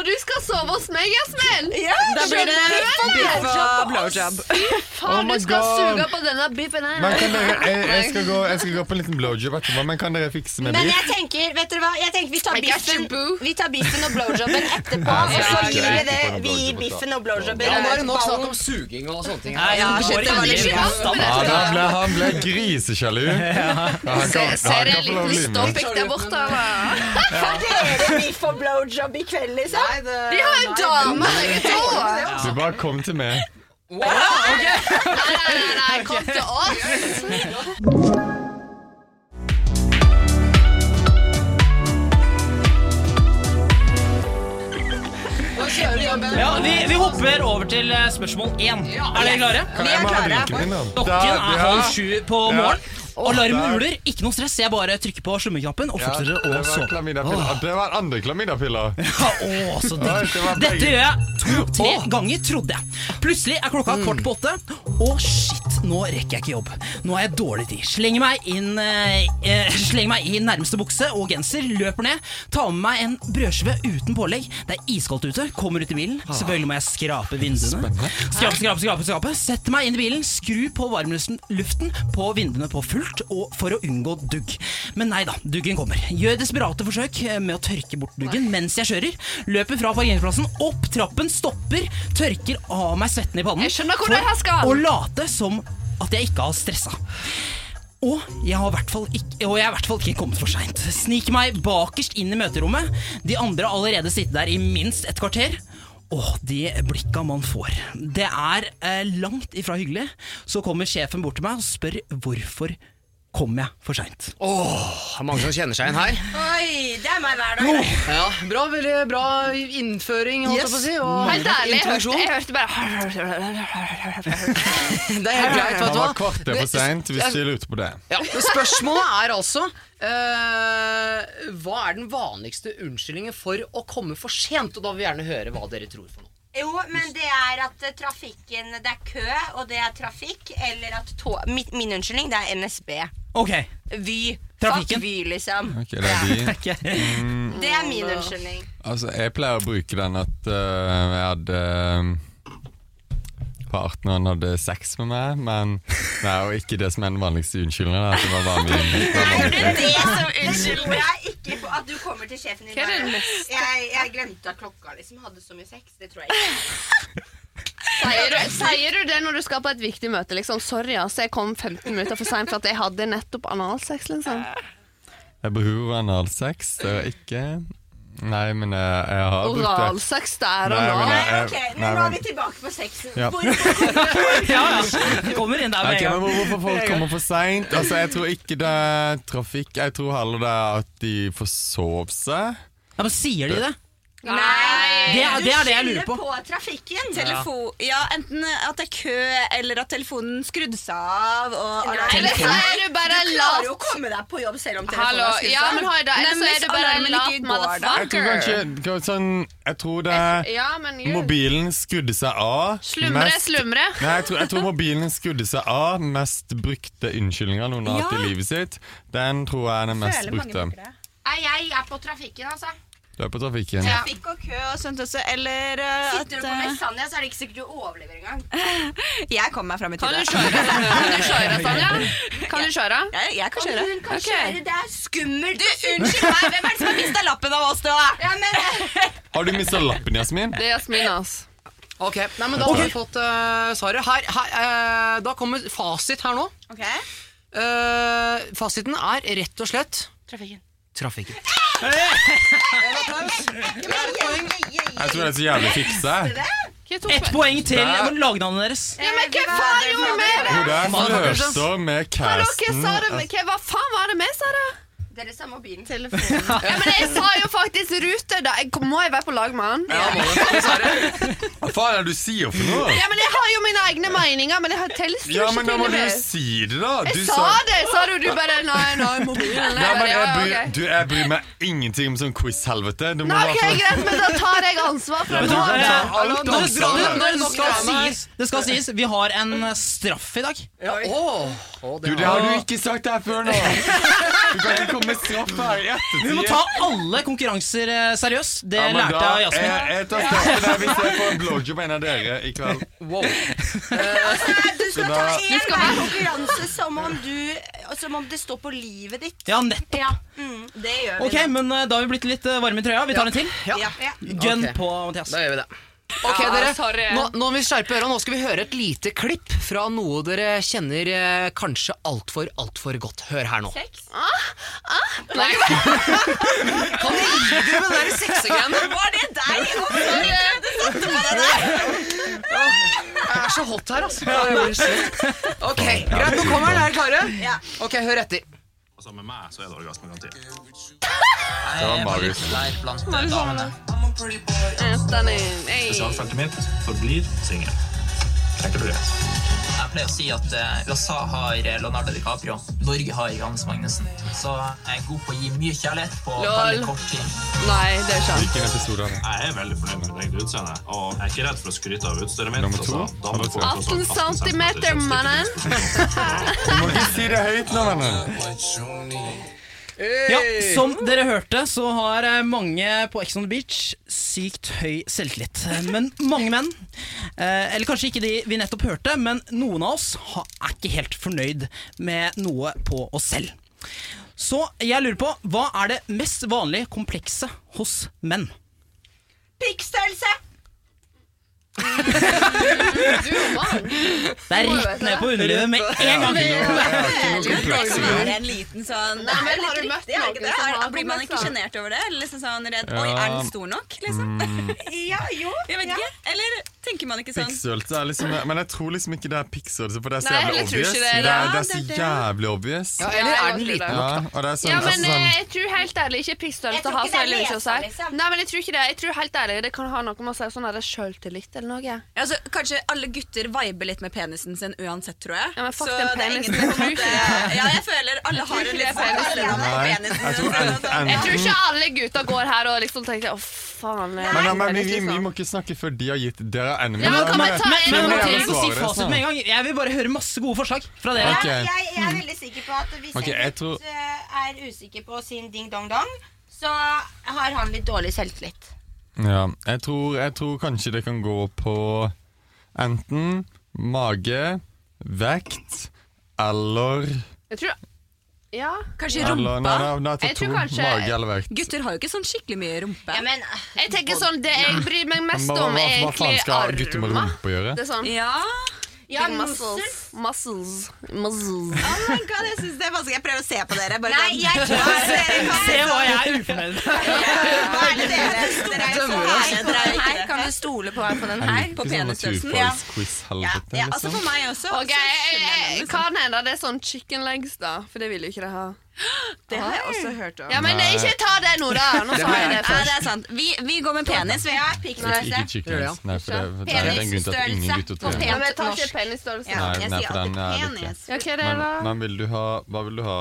Og du skal sove hos meg, Jasmin?
(laughs) Ja,
Da blir det biff og blowjob.
Oh
Faen,
my
du skal
God.
suge på denne biffen her.
Men kan dere, jeg, jeg, skal gå, jeg skal gå på en liten blowjob etterpå, men kan dere fikse med
Men
biff?
jeg tenker, vet dere hva? Jeg tenker Vi tar
I got you,
biffen,
boo.
vi tar biffen og (laughs) blowjobben etterpå,
Ja,
og så
ja,
gir vi
greit.
det.
Vi
Vi
får en
gir
blowjob
biffen og blowjobben.
Ja, nå er det nok snakk
ballen.
om suging og sånne ting.
(laughs) Nei,
her.
Ja,
det går
shit, det var
veldig
litt
mye
sjukt.
Ja,
motstand.
han ble, han ble grisesjalu.
(laughs)
Ja, han
Se-
kan- han
Ser
kan
en
få lov å
liten
bli med.
ståpikk der borte. eller?
Får dere biff og blowjob i kveld, liksom?
Nei, det...
De har jo dame, begge to.
Du bare kom til meg.
Nei, nei, nei, nei, kom til oss.
Ja, vi, vi hopper over til eh, spørsmål én. Er dere klare?
Kan jeg må ha drinken min, da?
Klokken
Da-
er
ja.
halv sju på
Ja.
morgenen. Alarmen
der.
uler. Ikke noe stress. Jeg bare trykker på slummeknappen og
Ja, det
fortsetter å
var
sove.
klamydiapiller. Ah, Det var andre klamydiapiller.
(laughs) Ja, å, så digg.
Oi, det var
Dette
deilig.
gjør jeg to-tre ganger, trodde jeg. Plutselig er klokka kvart på åtte. Å, shit, nå rekker jeg ikke jobb. Nå har jeg dårlig tid. Slenger meg inn eh, eh, Slenger meg i nærmeste bukse og genser, løper ned, tar med meg en brødskive uten pålegg. Det er iskaldt ute, kommer ut i bilen.
Ah.
Selvfølgelig må jeg skrape vinduene. Skrape, skrape, skrape, skrape. Setter meg inn i bilen, skru på varmluften luften på vinduene på fullt og for å unngå dugg. Men nei da, duggen kommer. Gjør desperate forsøk eh, med å tørke bort duggen mens jeg kjører. Løper fra parkeringsplassen, opp trappen, stopper, tørker av meg svetten i pannen.
Jeg skjønner hvor
for
det her skal.
Å late som at jeg ikke har stressa. Og jeg har i hvert fall ikke, og jeg har i hvert fall ikke kommet for seint. Sniker meg bakerst inn i møterommet. De andre har allerede sittet der i minst et kvarter. Åh, de blikka man får. Det er eh, langt ifra hyggelig. Så kommer sjefen bort til meg og spør hvorfor kom jeg for seint.
Åh, mange som kjenner seg igjen her.
Oi, det er meg hver dag.
Ja, bra, veldig bra innføring, holdt jeg på å si. Og
Helt ærlig, jeg hørte,
introduksjon.
jeg hørte bare
Det er helt greit, vet
Han
du hva.
var kvarter for seint, hvis du lurte på det.
Ja, men Spørsmålet er altså eh, Hva er den vanligste unnskyldningen for å komme for sent? Og da vil vi gjerne høre hva dere tror for noe.
Jo, men det er at eh, trafikken Det er kø, og det er trafikk. Eller at tå... Min, min unnskyldning, det er NSB.
Ok.
Vy. Fuck
Trafikken.
Vy, liksom.
Ok, det er de.
(laughs) Det er min unnskyldning.
eh, Altså, jeg pleier å bruke den at øh, jeg hadde øh, på 18 år han eh, hadde sex med meg, men det er jo ikke det som er den vanligste unnskyldningen. At det var vanlig, det var vanlig.
Det er det som unnskylder jeg ikke på at du kommer til sjefen din
Hva er det
Jeg, jeg glemte at klokka liksom hadde så mye sex. Det tror jeg ikke.
Sier du, sier du det når du skal på et viktig møte? Liksom, Sorry, altså, jeg kom 15 minutter for seint for at jeg hadde nettopp analsex. Liksom.
Jeg behøver analsex, det er ikke Nei, men jeg, jeg har brukt det.
Oralsex der og
Nei, men eh,
da.
jeg- jeg-
Ok, men nå
nei,
er
men-
vi tilbake på sexen.
Ja.
Hvorfor
Ja, ja. Kommer inn
Ok,
der med en
men
gang.
Hvorfor folk kommer for seint? Altså, jeg tror ikke det er trafikk. Jeg tror heller det er at de forsov seg.
Ja, men sier de det?
Nei!
Det er det, er det jeg lurer på.
på trafikken.
Telefo ja, enten at det er kø, eller at telefonen skrudde seg av. Og
eh,
Eller
Telefon.
så er
du bare
Du klarer jo å komme deg på jobb selv om telefonen
Hallo.
er skrudd
Ja,
av.
men Haida, ellers
Nei,
så
hvis
er du bare en
alarmen
lat
ikke går, da.
Jeg tror
motherfucker.
kanskje eh, hva- sånn, Jeg tror det er
Ja, men jo.
Mobilen skrudde seg av.
Slumre,
Mest-
slumre.
Nei, jeg tror, jeg tror mobilen skrudde seg av. Mest brukte unnskyldninga noen har hatt i livet sitt. Den tror jeg er den mest brukte.
Nei, jeg er på trafikken, altså.
Du er på trafikken.
Ja.
Fikk og kø og sånt også, eller eh, at
Sitter du på
eh,
Messania, så er det ikke sikkert du overlever engang.
Jeg kommer meg fram i
Kan
tide.
du kjøre, kan du kjøre Sanja? Kan du kjøre?
Jeg, jeg kan kjøre.
Hun kan kjøre, det er skummelt. Du,
Unnskyld meg, hvem er det som har mista lappen av oss, da?
Ja, men eh,
Har du mista lappen, Jasmin?
Det er Jasmin, ass.
Ok, Nei, men Da har vi fått eh, svaret. Her, her, eh, da kommer fasit her nå. Eh, fasiten er rett og slett trafikken.
Jeg tror det er så jævlig fiksa.
Ett poeng til med lagnavnet deres.
Ja, men hva faen gjorde vi?
Hun der
Motherfucker,
flørter
Hallo,
med
Hva,
casten.
sa du? hva, hva faen var det vi sa, da?
Dere sa mobilen. (laughs)
Ja, men jeg sa jo faktisk rute, da. Jeg, må jeg være på lag med han?
Hva faen er det du sier for noe?
Ja, men jeg har jo mine egne meninger, men jeg har tells
Ja, men da må du si det, da. Du
Jeg sa det, sa du. Du bare Nei, nei, mobilen.
Nei,
bare,
men jeg
ja,
bryr,
ok.
du, jeg bryr meg ingenting om sånn quiz-helvete. Du må
Nei, ok,
i hvert fall-
Greit, men da tar jeg ansvar for
Ja,
det.
du
nå.
kan ta
Eh,
alt
Nå,
ansvaret.
nå, nå,
Nå
det,
skal
skal sies, det skal sies, vi har en eh, straff i dag.
Ja, åh, åh, det
Du, det
har-
har du ikke sagt her før nå. Du kan ikke komme med straff her i ettertid.
Vi må ta alle konkurranser eh, seriøst. Det
Ja, men
lærte
da-
jeg av Jasmin.
Jeg, jeg tar straffen der hvis jeg får en blowjob av en av dere i kveld.
wow.
Du skal
Så
ta
da-
én hver konkurranse som om, du, som om det står på livet ditt.
Ja, nettopp.
Mm, det gjør vi.
Ok, men eh, Da har vi blitt litt eh, varme i trøya. Vi tar en til.
Ja,
Ja.
Gun
Ok.
på Mathias.
da gjør vi det. Ok,
Ja, sorry.
dere, nå, nå må vi skjerpe øra. Nå skal vi høre et lite klipp fra noe dere kjenner eh, kanskje altfor, altfor godt. Hør her nå.
Nei,
Kan dere gi dere med den sexegreiene? (laughs)
Var det deg?
Jeg er så hot her, altså. Ja, jeg blir svett. Ok, greit, nå kommer den. Er dere klare? Ok, hør etter.
Sammen med meg så er det orgasmegaranti.
Det var Marius.
Spesialfeltet mitt forblir singel. Tenker du det?
Jeg pleier å si at eh, USA har Leonardo DiCaprio, Norge har Johannes Magnussen. Så jeg er god på å gi mye kjærlighet på veldig kort tid.
nei, det er ikke sant.
Hvilken episode er det?
Jeg er veldig fornøyd med mitt eget utseende, og jeg er ikke redd for å skryte av utstyret mitt.
Nummer to?
da må jeg få
18
sånn 18
centimeter,
centimeter
mannen.
Du må ikke si det høyt nå, vennen.
Ja, Som dere hørte, så har eh, mange på Ex on the Beach sykt høy selvtillit. Men mange menn, eh, eller kanskje ikke de vi nettopp hørte, men noen av oss ha- er ikke helt fornøyd med noe på oss selv. Så jeg lurer på, hva er det mest vanlige komplekset hos menn?
Pikkstørrelse!
Det er rett ned på underlivet med en gang!
Det er en liten sånn Nei,
men har du møtt
riktig, er det ikke
noen
det?
som har
Har- Blir man ikke
komplekser?
sjenert over det? Eller liksom sånn redd Oi,
Ja.
er den stor nok? Liksom.
Ja, jo.
(laughs) Jeg vet ikke. Eller tenker man ikke sånn
Pikkstørrelse er liksom Men jeg tror liksom ikke det er pikkstørrelse, for det er så
Nei,
jævlig
jeg tror ikke
obvious.
det.
Det er, det
Ja,
er så
det er det.
jævlig obvious.
Ja, eller er den liten?
Ja, og det er sånn,
Ja, men
altså, sånn
eh, jeg tror helt ærlig ikke
Jeg
pissstørrelse
tror
har
ikke
så
det er
veldig mye å si.
leser, liksom.
Nei, men jeg tror ikke det. Jeg tror helt ærlig det kan ha noe med å si sånn der sjøltillit eller noe.
ja, så Kanskje alle gutter viber litt med penisen sin uansett, tror jeg.
Ja, men fuck
så
den
det er ingen
penisen.
som
Jeg tror ikke
på en måte- Ja, jeg føler alle har en litt sånn alle har
Nei,
penisen
jeg
sin,
tror en-
og sånn.
Jeg tror
enten
ikke alle gutter går her og liksom tenker å faen jeg
men,
er
men, vi, vi,
liksom.
vi må ikke snakke før de har gitt dere er enemy.
Ja, men kan vi ta en
Men, men man
Jeg
trenger
vil
ikke å si
svare
fasit
snart.
med en gang. Jeg vil bare høre masse gode forslag fra dere.
Ok.
Jeg, jeg, jeg er veldig sikker på at hvis
Ok, jeg
en gutt
tror-
eh, er usikker på sin ding-dong-dong, så har han litt dårlig selvtillit.
Ja, jeg tror, jeg tror kanskje det kan gå på Enten mage, vekt eller
Jeg tror Ja.
Kanskje
Eller, nei, nei, nei, ta
Jeg
to.
tror kanskje-
Mage eller vekt.
Gutter har jo ikke sånn skikkelig mye rumpe.
Ja, men
eh,
Jeg tenker sånn, Det jeg bryr meg mest
Men hva,
om,
hva,
er
hva faen skal
egentlig
gutter med
arma.
rumpe gjøre?
Det er sånn
Ja.
ja,
muscles.
muscles.
Muscles. Muscles.
Oh my god, jeg syns det er vanskelig. Jeg prøver å se på dere. Bare sånn.
Nei,
(laughs)
jeg tror
Se hva jeg er ufornøyd med.
Hva er det dere? Dere er jo så herre. Dere er jo ikke det.
Kan du stole på meg på den her?
Jeg liker sånn
Ja,
naturfagsquiz-helvete.
ja, altså for
liksom.
meg også.
Ok,
så skjønner jeg
eh,
det, liksom.
Hva hender det er sånn chicken legs, da? For det vil jo ikke de ha.
Det har jeg også hørt om.
Ja, men
Nei.
Ikke ta det nå, da! Nå sa jeg det
Nei, det er sant. Vi, vi går med penis. Vi er
Ikke,
pikk.
ikke chicken wings. Nei, for det, det er en grunn til at ingen gutter
Penisstørrelse på
trener.
Ja,
penis.
Ja,
men jeg tar ikke penisstørrelse.
Nei,
jeg
nei,
sier
for den er
alltid
litt-
penis.
Ja, hva er det,
Men,
da?
men vil du ha Hva vil du ha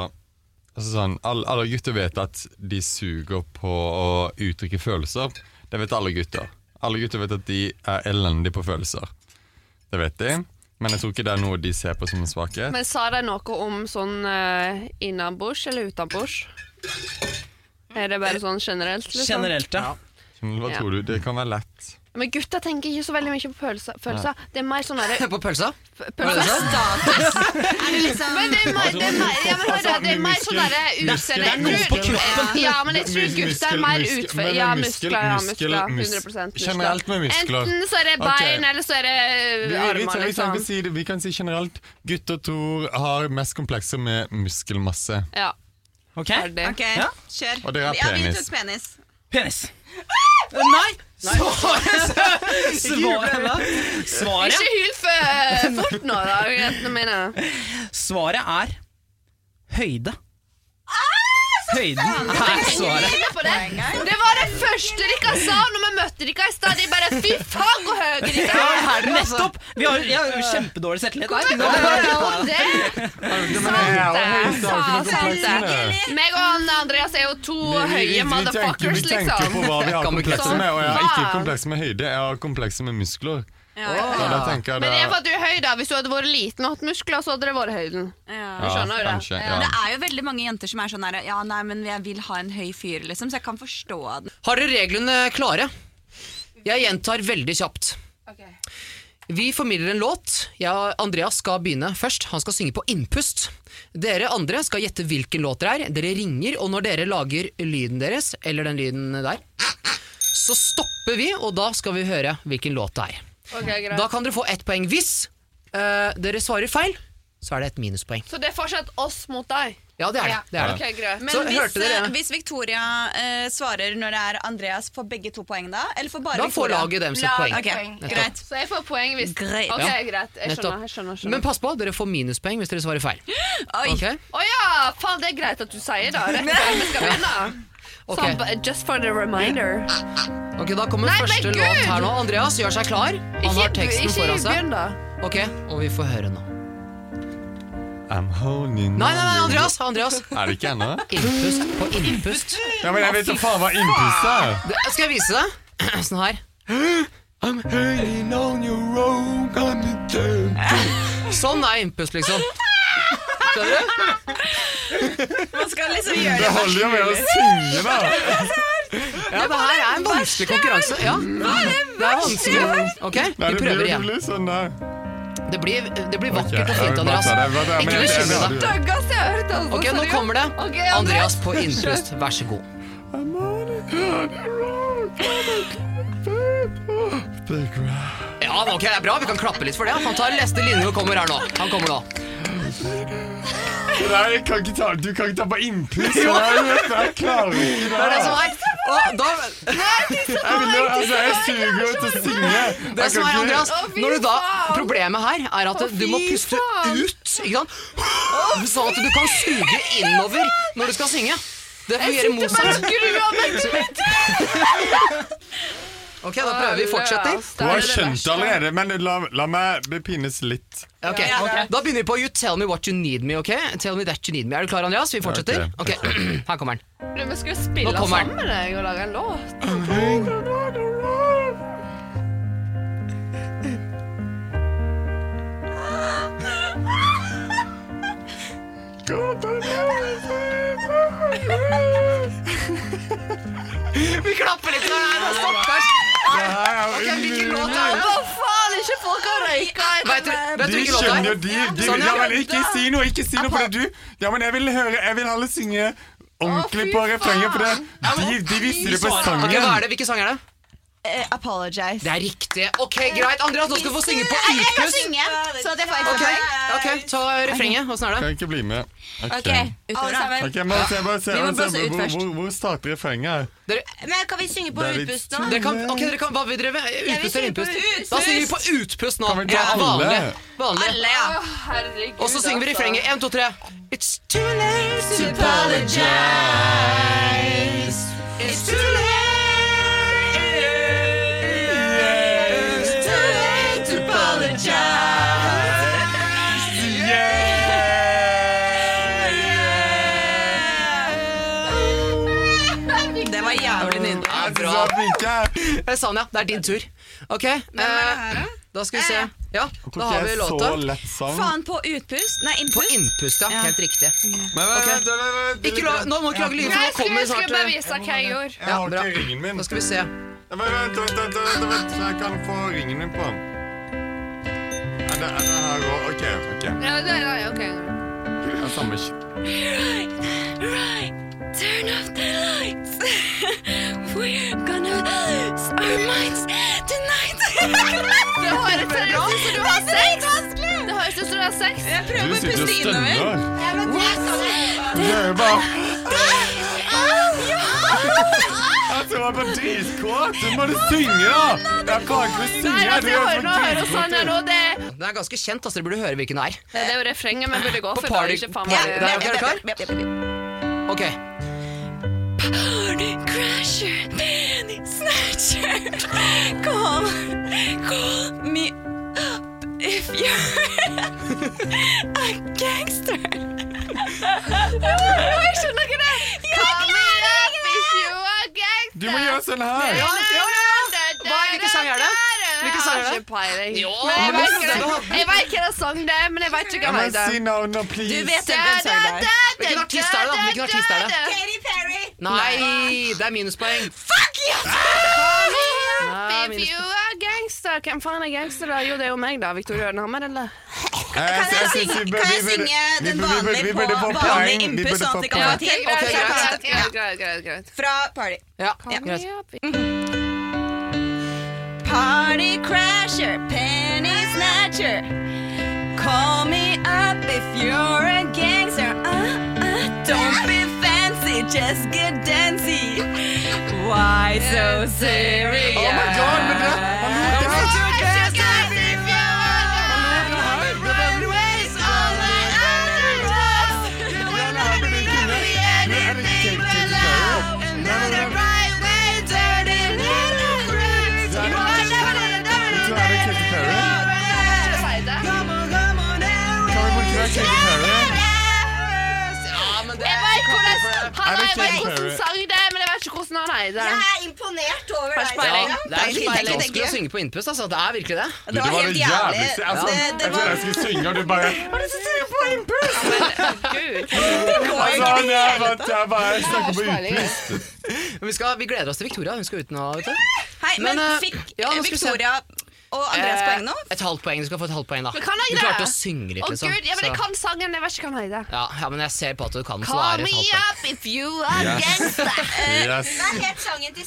altså sånn, alle, alle gutter vet at de suger på å uttrykke følelser. Det vet alle gutter. Alle gutter vet at de er elendige på følelser. Det vet de. Men jeg tror ikke det er noe de ser på som en svakhet.
Men sa de noe om sånn uh, innenbords eller utenbords? Er det bare sånn generelt? Liksom?
Generelt, ja.
Hva
Ja.
tror du? Det kan være lett.
Men gutter tenker ikke så veldig mye på følelser. følelser. Det er mer sånn derre
På pølsa?
Pølser? Men det er mer, det er mer, ja, men hør, da, det er mer sånn derre utseende
Det er noe på kroppen.
Ja, men jeg tror
Mus-
gutter er
muskel-
mer
muskel-
utfor...
men
Ja, muskler.
muskel-
Ja,
muskel-
muskler.
mus-
100 muskler.
generelt med muskler.
Enten så er det bein,
Ok.
eller så er det
Vi,
eh,
vi, vi,
armer,
vi, kan
liksom.
si det, vi kan si generelt gutter tror har mest komplekser med muskelmasse.
Ja,
Ok?
ferdig.
Ok,
Ja.
kjør.
Og dere har
Ja, vi
penis.
tok penis.
Penis. Ah! Nei! Svaret (laughs) Svaret Svaret
Ikke hyl for fort nå, da, jentene mine.
Svaret er høyde. Ah, Høyden er (laughs) svaret.
Hyl på det. Det var det første dere sa når vi møtte dere i stad. De bare Fy faen, hvor høye dere
Ja,
er!
her nettopp! Vi har, jeg har jo kjempedårlig selvtillit.
Hvorfor var det om det? Sant det. Sant det.
Nei.
Meg og han Andreas er jo to høye motherfuckers,
vi tenker på
liksom.
hva vi har
Kan vi
komplekser
klatre?
med, og jeg har ikke
Faen.
komplekser med høyde, jeg har komplekser med muskler.
Ja,
Og da tenker jeg
Men det er for
det,
at du er høy, da. Hvis du hadde vært liten og hatt muskler, så hadde det vært høyden.
ja.
du skjønner jo det.
kanskje,
Men
ja.
Det er jo veldig mange jenter som er sånn her Ja, nei, men jeg vil ha en høy fyr, liksom, så jeg kan forstå den.
Har dere reglene klare? Jeg gjentar veldig kjapt. Vi formidler en låt. Jeg og Andreas skal begynne først. Han skal synge på innpust. Dere andre skal gjette hvilken låt det er. Dere ringer, og når dere lager lyden deres, eller den lyden der, så stopper vi, og da skal vi høre hvilken låt det er.
Ok, greit.
Da kan dere få ett poeng hvis eh, dere svarer feil. Så er det et minuspoeng.
Så det er fortsatt oss mot deg?
Ja, det er det. det, er det.
Ok, greit.
Men
Så
hvis,
hørte dere-
eh, hvis Victoria eh, svarer når det er Andreas, får begge to poeng da? Eller får bare
Da får
Victoria?
laget dem sitt
Lag-
poeng.
Ok,
Poeng.
greit.
Så jeg får poeng hvis
Greit.
Ok,
Ja.
greit. Jeg skjønner. jeg
Nettopp.
skjønner, jeg
Men
skjønner.
pass på, dere får minuspoeng hvis dere svarer feil.
Oi.
Ok?
Å ja! Faen, det er greit at du sier det. Rett før vi skal begynne.
Ok.
Sånn, b- just for the reminder.
Ok, Da kommer
Nei, men
første
Gud!
låt her nå. Andreas gjør seg klar. Han har teksten
ikke
foran seg.
begynn, da.
Ok, Og vi får høre nå. Nei,
I'm holding
nei, nei, Andreas! Andreas.
Er det ikke ennå?
Innpust på innpust.
Ja, men jeg vet da faen hva innpust er!
Det, skal jeg vise deg? (clears throat) Sånn her.
I'm hanging on your rope, I'm a damn-
Sånn er innpust, liksom.
Man skal liksom gjøre
Det
det
holder jo med å synge, da!
Ja, Det her er en vanskelig konkurranse. Ja, det er vanskelig. Ok,
Nei,
vi
det blir
prøver
jo
igjen.
litt sånn der.
Det blir, det blir
Ok,
vakkert og
jeg
fint,
vil bare
Andreas.
ta det, jeg vil bare ta det, men
Ikke
jeg- jeg-
bekymre
jeg-
deg.
Stakkars, jeg har hørt altså,
Ok, Nå
seriøst.
kommer
Ok,
det. Andreas på innpust, vær så god.
I'm holding on your rope, I'm a damn- Big rock.
Ja, men ok, det er bra. Vi kan klappe litt for det. Han tar neste linje og kommer her nå. Han kommer nå.
Nei, jeg kan ikke ta, du kan ikke ta på innpust. Jeg, jeg klarer ikke
Det er det
det.
som er. Og da,
Jeg vil jo- altså, jeg suger jo til å synge.
det
Jeg
som
kan
er,
ikke-
Andreas,
Å, fy
når du da,
faen.
problemet her er at du må
fy
puste
faen.
ut, ikke sant? Sånn at du kan suge innover når du skal synge. Det fungerer
Jeg sitter bare
motsatt.
og gruer meg til
Ok, da prøver vi fortsetning.
Du har skjønt det allerede, men la, la meg pines litt.
Ok, ok. Da begynner vi på You Tell Me What You Need Me. ok? Tell me that you need me. Er du klar, Andreas? Vi fortsetter.
ok.
Ok, (clears throat) Her kommer den.
Du, vi skulle spille
Nå kommer den.
sammen med deg og lage en låt.
Vi klapper litt. Nei, nei, nei, stakkars.
Det her er
Ok, Hvilken
umulig.
låt er det?
Hva faen, ikke folk har røyka
Vet du, vet du
De
hvilken
skjønner
låt
jo
det
de,
er?
de
Sånn,
Ja,
ja.
men ikke si noe, ikke si noe på det, du. Ja, men jeg vil høre Jeg vil heller synge ordentlig
Å, fy
på refrenget, for det De, de visste det på sangen.
Ok, hva er det? Hvilken sang er det?
Eh, apologize.
Det er riktig. Ok, Greit. Andreas, nå skal du få synge på
Jeg kan
Ukes.
synge, Sånn. så det får jeg
Ok,
ikke
ok, Ta refrenget. Åssen er det?
Kan ikke bli med.
Ok, utover da.
Ok, men se, bare se,
Vi må blåse ut
bare se hvor,
først.
hvor, hvor starter refrenget her?
Men kan vi synge på
Det er litt
utpust nå?
Dere kan, ok, dere kan, hva vil dere? Utpust eller
synger på
innpust? Da synger vi på utpust nå.
Kan vi ta alle?
vanlig. vanlig.
Alle, ja.
Herregud,
Ah. Og så synger vi
altså.
refrenget. En, to, tre. It's too late to
Apologize.
It's too late. It's too late to apologize.
poeng. Det var jævlig nydelig.
Ja,
Jeg synes
bra.
det var flinke.
Eh, Sanja, det er din tur. Ok, eh, da skal vi se. Ja, da
Hvorfor
har
er
vi
jeg
låta.
Så lett sang.
Faen på utpust. Nei,
På
innpust.
innpust, ja. Helt riktig.
Men vent, vent, vent, vent, vent,
Ikke la, nå må du ikke lage lyder, for
Jeg
nå
skulle,
kommer
jeg skulle
snart
bare
eh,
vise hva jeg gjorde.
Jeg har
bra.
ikke ringen min.
Nå skal vi se.
Vent, vent, vent, vent, vent, vent. Jeg kan få ringen min på den. Er det, er det her også? Ok, ok.
Ja, nei, nei, ok.
Jeg har samme sk-
Turn off the lights. We're gonna lose our minds tonight.
Det høres ut som du har sex! Det høres ut som du har sex.
Du sitter og stønner.
sånn-
Det er jo bare Jeg tror jeg var dritkåt. Du må du synge, da. Jeg kan ikke synge.
Nei, altså, jeg
Du er så
hører nå, jeg hører
dritkåt.
sånn her nå. Det,
Den er ganske kjent, altså. Dere burde høre hvilken det er.
det er jo refrenget vi burde gå for.
På
da er
party.
det ikke faen
Ja,
meg-
der, ok, er du klar? Ok. Ah,
Party crasher, penny snatcher. Call, call me up if you're a gangster. Jeg skjønner ikke det. Jeg klarer ikke det.
If you are gangster.
Du må gjøre sånn her.
Ja, ja, Hva- hvilken sang er det? Hvilken sang er
Jeg har
det?
ikke peiling.
Jo,
Men jeg
men
vet
det-
ikke det- jeg vet ikke hvilken sang det er, men jeg vet ikke
Jeg
hva
må
det er.
si navnet,
Du
please. Eh,
vet hvem sang det er.
Hvilken artist er det, da? Hvilken artist er det?
Katy Perry.
Nei, det er minuspoeng. Nei,
If you are gangster. Hvem faen er gangster, da? Jo, det er jo meg, da. Victoria Ørnhammer, eller?
Kan
jeg synge- kan jeg synge den vanlige på- vanlig innpust, sånn at det kan være til?
greit,
Ok,
greit,
greit.
greit, greit, greit, greit.
Fra Party.
Ja,
Ja.
greit.
Party crasher, penny snatcher. Call me up if you're a gangster. Uh, uh, don't be fancy, just get dancy. Why so serious?
Oh my god, men det han gjorde det.
Ja, men det
Jeg vet hvordan han
Er det
jeg vet
Katy
hvordan
Perry?
sang det er, men jeg vet ikke hvordan han heter det.
Ja,
Perspeiling.
det
Tenk,
er
tenk,
ikke vanskelig å
tenk.
synge på innpust, altså. Det er virkelig det.
Det var det jævligste.
jævligste.
Altså,
Det, det
Jeg
var
trodde jeg skulle synge, og du bare Altså,
det
jeg bare, jeg bare snakker på utpust.
Men vi, skal, vi gleder oss til Victoria. Hun skal ut nå. vet du.
Hei, men,
Men, eh,
fikk
ja, nå skal vi se.
Victoria og Andreas
Eh,
poeng nå?
Et halvt poeng. Du skal få et halvt poeng, da.
Men kan jeg
du
det?
klarte å synge litt,
Å
liksom.
gud, ja, men jeg
så-
kan sangen, jeg vet ikke hva han heter.
ja, ja, men jeg ser på at du kan, så det
Call
er et
me
halvt
sånn.
poeng.
up if you are
Yes.
(laughs)
gangster.
Yes.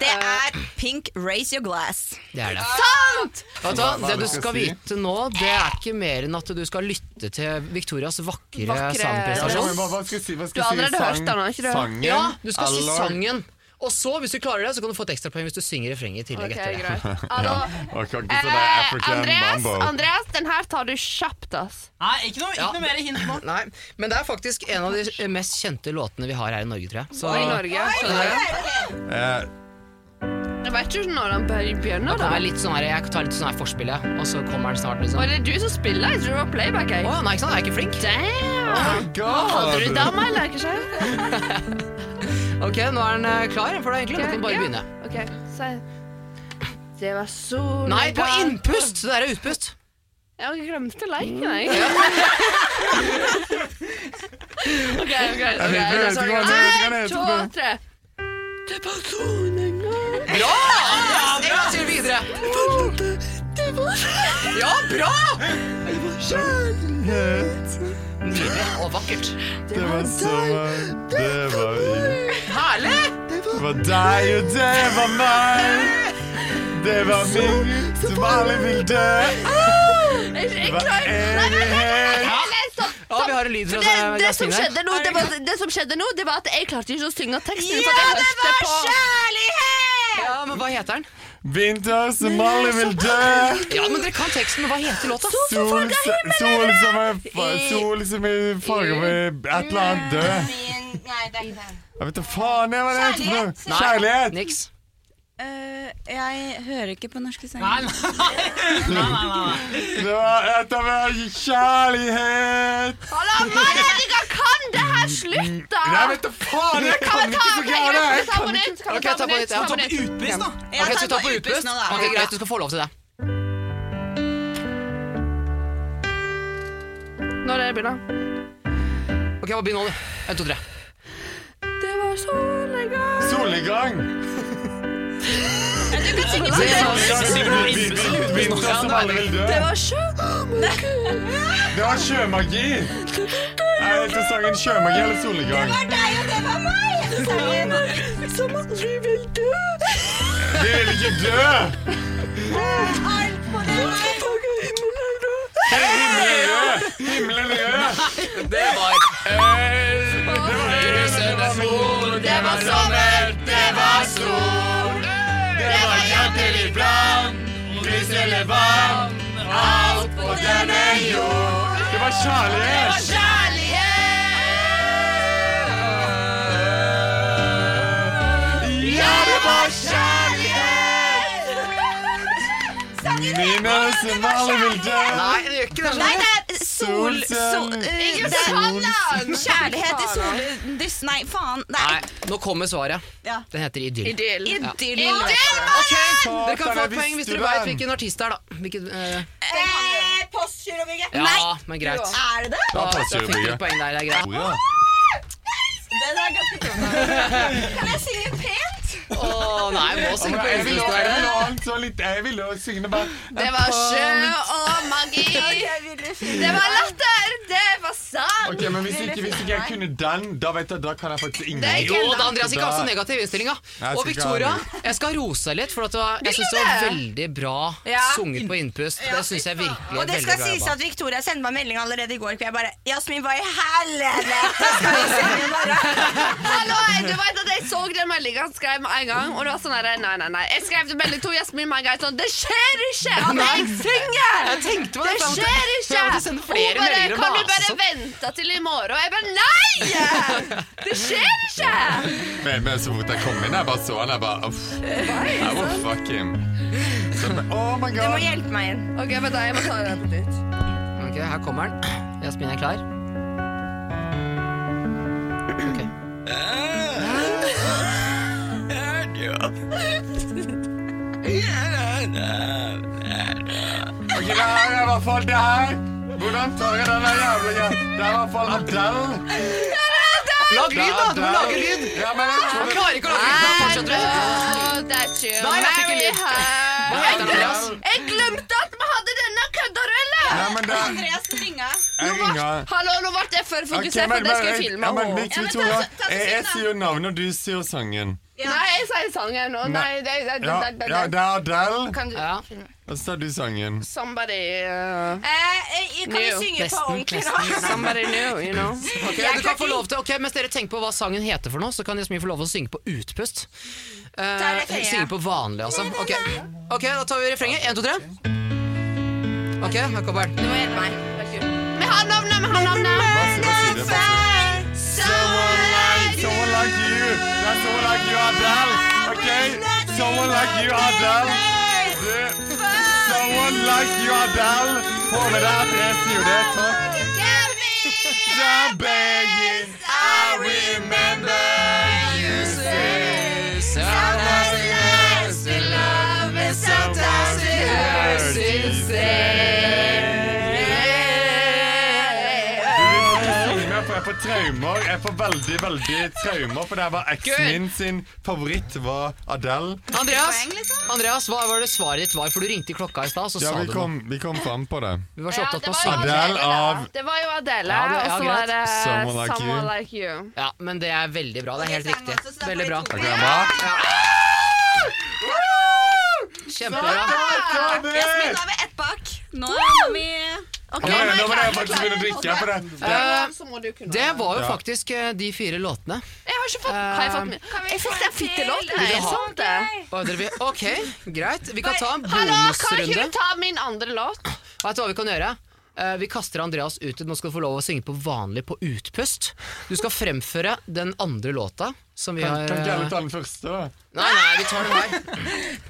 Det er Pink Raise Your Glass.
Det er det.
Sant!
Vet du hva,
Hva- hva
det
du
du
skal
skal
si?
vite nå, det er ikke mer enn at du skal lytte til Victorias vakre,
Vakre-
Ja,
sangprestasjon.
men Hva hva skal jeg si? Hva
Du
skal
har
jeg si?
allerede hørt den, har ikke du?
sangen?
Ja, du skal si
eller-
sangen. Og så, hvis du klarer det, så kan du få et ekstrapoeng hvis du synger refrenget i tillegg.
Ok,
etter det.
greit. Hallo.
Ok, ok, så det er
Eh,
African
Andreas,
Mambo.
Andreas, den her tar du kjapt, ass.
Nei, ikke noe, ikke noe mer hint nå.
(laughs) Nei, men det er faktisk en av de mest kjente låtene vi har her i Norge, tror jeg. Så
I Norge.
Eh,
Jeg vet ikke når han begynner,
det
da.
er litt sånn her, jeg tar litt sånn her forspill, jeg, og så kommer den snart, liksom.
Og det er du som spiller, jeg tror det var playback,
Å
jeg.
ja, nei, ikke sant, jeg er ikke flink.
Damn!
oh God.
Hadde du dama, eller ikke?
Ok, nå er den eh, klar for deg, egentlig. Nå kan du bare
Ja.
begynne.
Ok, si. Det var sol
Nei, på innpust! Det der er utpust.
Jeg glemte leken, jeg. (laughs) OK, OK.
Jeg vet ikke, jeg vet ikke hva den heter,
Én,
jeg vet
to,
ikke hva den heter.
tre.
Ja! En gang til videre.
Det var
Ja, bra! Nydelig og vakkert.
Det var sommer, det var ingen
Herlig!
Det var deg, og det var meg. Det var min som alle vil dø. Det var evighet.
Ja, vi har en lyd fra
Det, det, som
Jasmin her.
skjedde nå, det, var, det som skjedde nå, det var at jeg klarte ikke å synge teksten. for at jeg hørte på.
Ja, men hva heter den?
Vinter som alle vil dø.
Ja, men Dere kan teksten, men hva heter låta?
Sol, sol som er fa- Sol som er farge med et eller annet død.
Nei, det er ikke det.
Jeg vet da faen jeg hva det heter. for noe. Kjærlighet.
Niks.
Eh, jeg hører ikke på norske sanger.
Nei, nei, nei, nei, nei.
Det var et av kjærlighet.
Hallo, mann, dere kan det her! Slutt, da!
Ah.
Nei, vet da faen, jeg kan ikke så
Kan vi
gærent. Jeg
ta på nytt? Kan vi
Ok,
ta
ta
på nytt?
på nytt,
Ta
ja.
på nytt.
Utpust, da.
Jeg
Ok,
tar
så ta
på
på
utpust
utpust.
nå, da.
Ok, Greit, du skal få lov til det.
Når er det begynner?
Ok, hva Begynn nå, du. En, to, tre.
Det var så lenge
Solnedgang. Vinter som alle vil dø.
Det var sjø...
Det var sjømagi. Jeg heter sangen Sjømagi eller solnedgang.
Som aldri vil dø.
Vi vil ikke dø. Hele Himmelen er rød. Himmelen er rød.
Det var
Det var øl, det var sol, det var sommer, det var sol. Det var hjertelig brann, lys eller vann, alt på denne jord. Det var kjærlighet. Ja, det var kjærlighet! Mine som alle vil dø.
Nei, det gjør ikke det.
Nei, det er sol... sol eh, det er kjærlighet i soldyss... Nei, faen. Det
Nei,
er
nå kommer svaret.
Ja.
Den heter Idyll.
Idyll.
idyll.
Ok, Dere kan få
Satan,
et poeng hvis
visste
dere
du
vet
den?
hvilken artist det er, da. Hvilken, eh,
Eh, Postgirobygget.
ja, men greit.
Er det det?
Da, da
passer det
fikk dere
bygget.
et poeng der, det er greit.
Den er ganske tung. Kan jeg synge pent?
Å nei, vi må synge på
Jeg vil også- jeg
Elvenes.
vil også så litt- jeg vil også synge det bare
Det var sjø og magi. Det var latter. Det var sang.
Ok, men Hvis ikke, hvis ikke jeg kunne den, da vet jeg, da kan jeg faktisk
er
ingenting.
Jo da, Andreas ikke har så negativ innstilling. da.
Nei, jeg skal
Og
ikke
Victoria,
ha
jeg skal rose deg litt, for at det var, jeg syns det var veldig bra sunget på innpust. Det syns jeg virkelig
Og
er
det
veldig
skal
bra
sies
jobba.
at Victoria sendte meg melding allerede i går kveld. Jeg bare 'Jasmin, hva i helvete skal vi sende i
(laughs)
morgen?'
Hallo, du vet at Jeg så den meldinga han skrev med en gang. Og det var sånn her, nei, nei, nei Jeg skrev til melding to Jasmin med en gang. Sånn, det skjer ikke at jeg synger!
Jeg tenkte
Det skjer ikke!
sende
Hun
flere
bare
meldinger og
Kan du
mase
bare
sånn.
vente til i morgen? Og jeg bare Nei! Det skjer ikke!
Men, men så fort jeg kom inn, jeg bare så han, jeg bare uff. Jeg var fucking så, jeg bare, Oh my
Du må
god.
hjelpe meg inn.
Ok, vent da, jeg må ta det på nytt.
Ok, her kommer den. Jasmin er klar. Ok.
Ok,
Eh,
det her er i hvert fall det her. Hvordan tar jeg den der jævla greia? Det er i hvert fall Adele.
Lag
Det
lyd,
er
da! Du må
Adele.
lage lyd!
Ja, men jeg tror
Du
det.
klarer ikke å lage lyd. Da fortsetter du.
Oh, that you
Nei, jeg fikk
marry
en lyd.
her.
Hva heter den, Andreas?
Jeg glemte at vi hadde denne kødderulla!
Nei, men det er
Andreas ringa.
Jeg ringer.
Hallo, nå ble jeg for fokusert på at jeg skulle filme
ja, men,
henne.
Victoria, jeg, eh, jeg sier navnet, og du sier sangen.
Nei, jeg sier sangen. Og nei, det er
Ja, ja, det er Adele,
Kan du
Ja.
og så tar du sangen.
Somebody uh,
Eh,
kan vi
New.
synge på
Nesten,
ordentlig nå?
nesten.
Somebody new, you know.
(laughs) Ok, du kan få lov til, ok, Mens dere tenker på hva sangen heter, for noe, så kan Jasmin få lov til å synge på utpust. Uh,
det Thea.
synge på vanlig, altså. Ok, Ok, Da tar vi refrenget. Én, to, tre. Ok, her kommer den.
Du må hjelpe meg.
Vi har navnet, vi har navnet!
Hva sier- hva sier det? Hva sier- Someone like, someone like you. That's someone like you, Adele. Ok? Someone like you, Adele. Du, someone like you, Adele. Få med deg adressen, jo det. Takk. The begging, I remember you say. Sometimes it hurts to love and sometimes it hurts to say. Du vil ikke synge, for jeg får traume. traumer. Jeg får veldig, veldig traumer, for det her var eksen
Good.
min sin favoritt var Adele.
Andreas,
liksom.
Andreas, hva var det svaret ditt var? For du ringte i klokka i stad, så
Ja,
sa
vi
du noe.
kom, vi kom fram på det.
Vi var så
Ja,
opptatt
det
med å
var
synge.
jo
Adele av
Det var jo Adele,
Ja, det-
og
ja,
så
greit.
var det
Someone Like
Someone
You.
Like You.
Ja, men det er veldig bra. Det er helt riktig. Veldig bra.
Takk for meg.
Kjempebra.
Jasmin, da er vi ett bak. Nå er vi
Nå må jeg- nå må jeg faktisk begynne å drikke. For det. det.
Eh,
Eh,
Det var jo
Ja.
faktisk eh, de fire låtene.
Jeg har ikke fått Har jeg fått
Eh,
med Jeg syns det er fittelåt.
Vil du ha-
Sånn det.
Hva dere vil- Ok, greit. Vi kan ta en
Hallo, kan ikke du
bonusrunde.
ta min andre låt?
Vet du hva vi kan gjøre? Eh, Vi kaster Andreas ut. Nå skal du få lov å synge på vanlig på utpust. Du skal fremføre den andre låta som vi har
Kan ikke alle
eh,
ta den første? da?
Nei, nei, vi tar den her.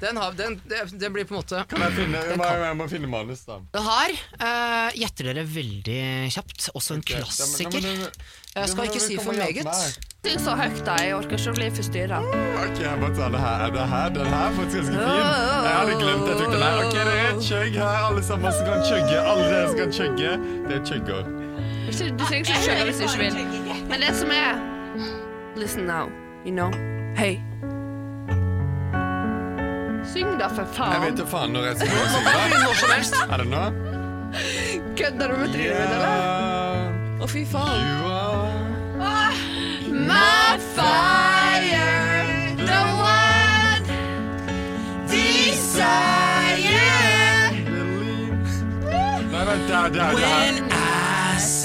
Den, har, den, det- den blir på en måte
Kan jeg, finne, jeg, må, jeg må finne manus, da.
Den her eh, gjetter dere veldig kjapt. Også en
Ja, men-
klassiker.
ja, men-
Jeg
ja,
skal
men
ikke si
kom
for
og hjelp
meget.
Syng så høyt, da. Jeg orker ikke å bli forstyrra.
meg. Ok, jeg må ta det her. Er det her? Den her er faktisk ganske fin. Jeg hadde glemt jeg tok den her. Ok, det er et kjøgg her, alle sammen som kan kjøgge. Alle dere som kan kjøgge. Det er kjøgger.
Du trenger ikke å skjønne hvis du ikke vil. Men det som er Listen now, you know. Høy. Syng da, for
Jeg
faen.
vet jo faen når jeg skal begynne å synge.
Når som helst.
da. Er det nå?
Kødder du med trynet mitt, eller?
Yeah,
Å, fy faen.
you are
My fire, the one desire.
the leaves. Nei, vent, det er det er det her.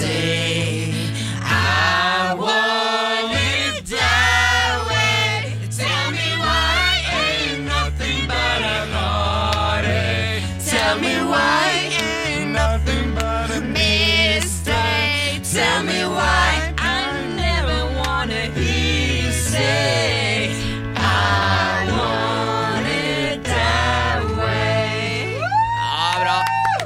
Nothing but a
Tell me why I never wanna hear you say I want it that way.
Ja, bra.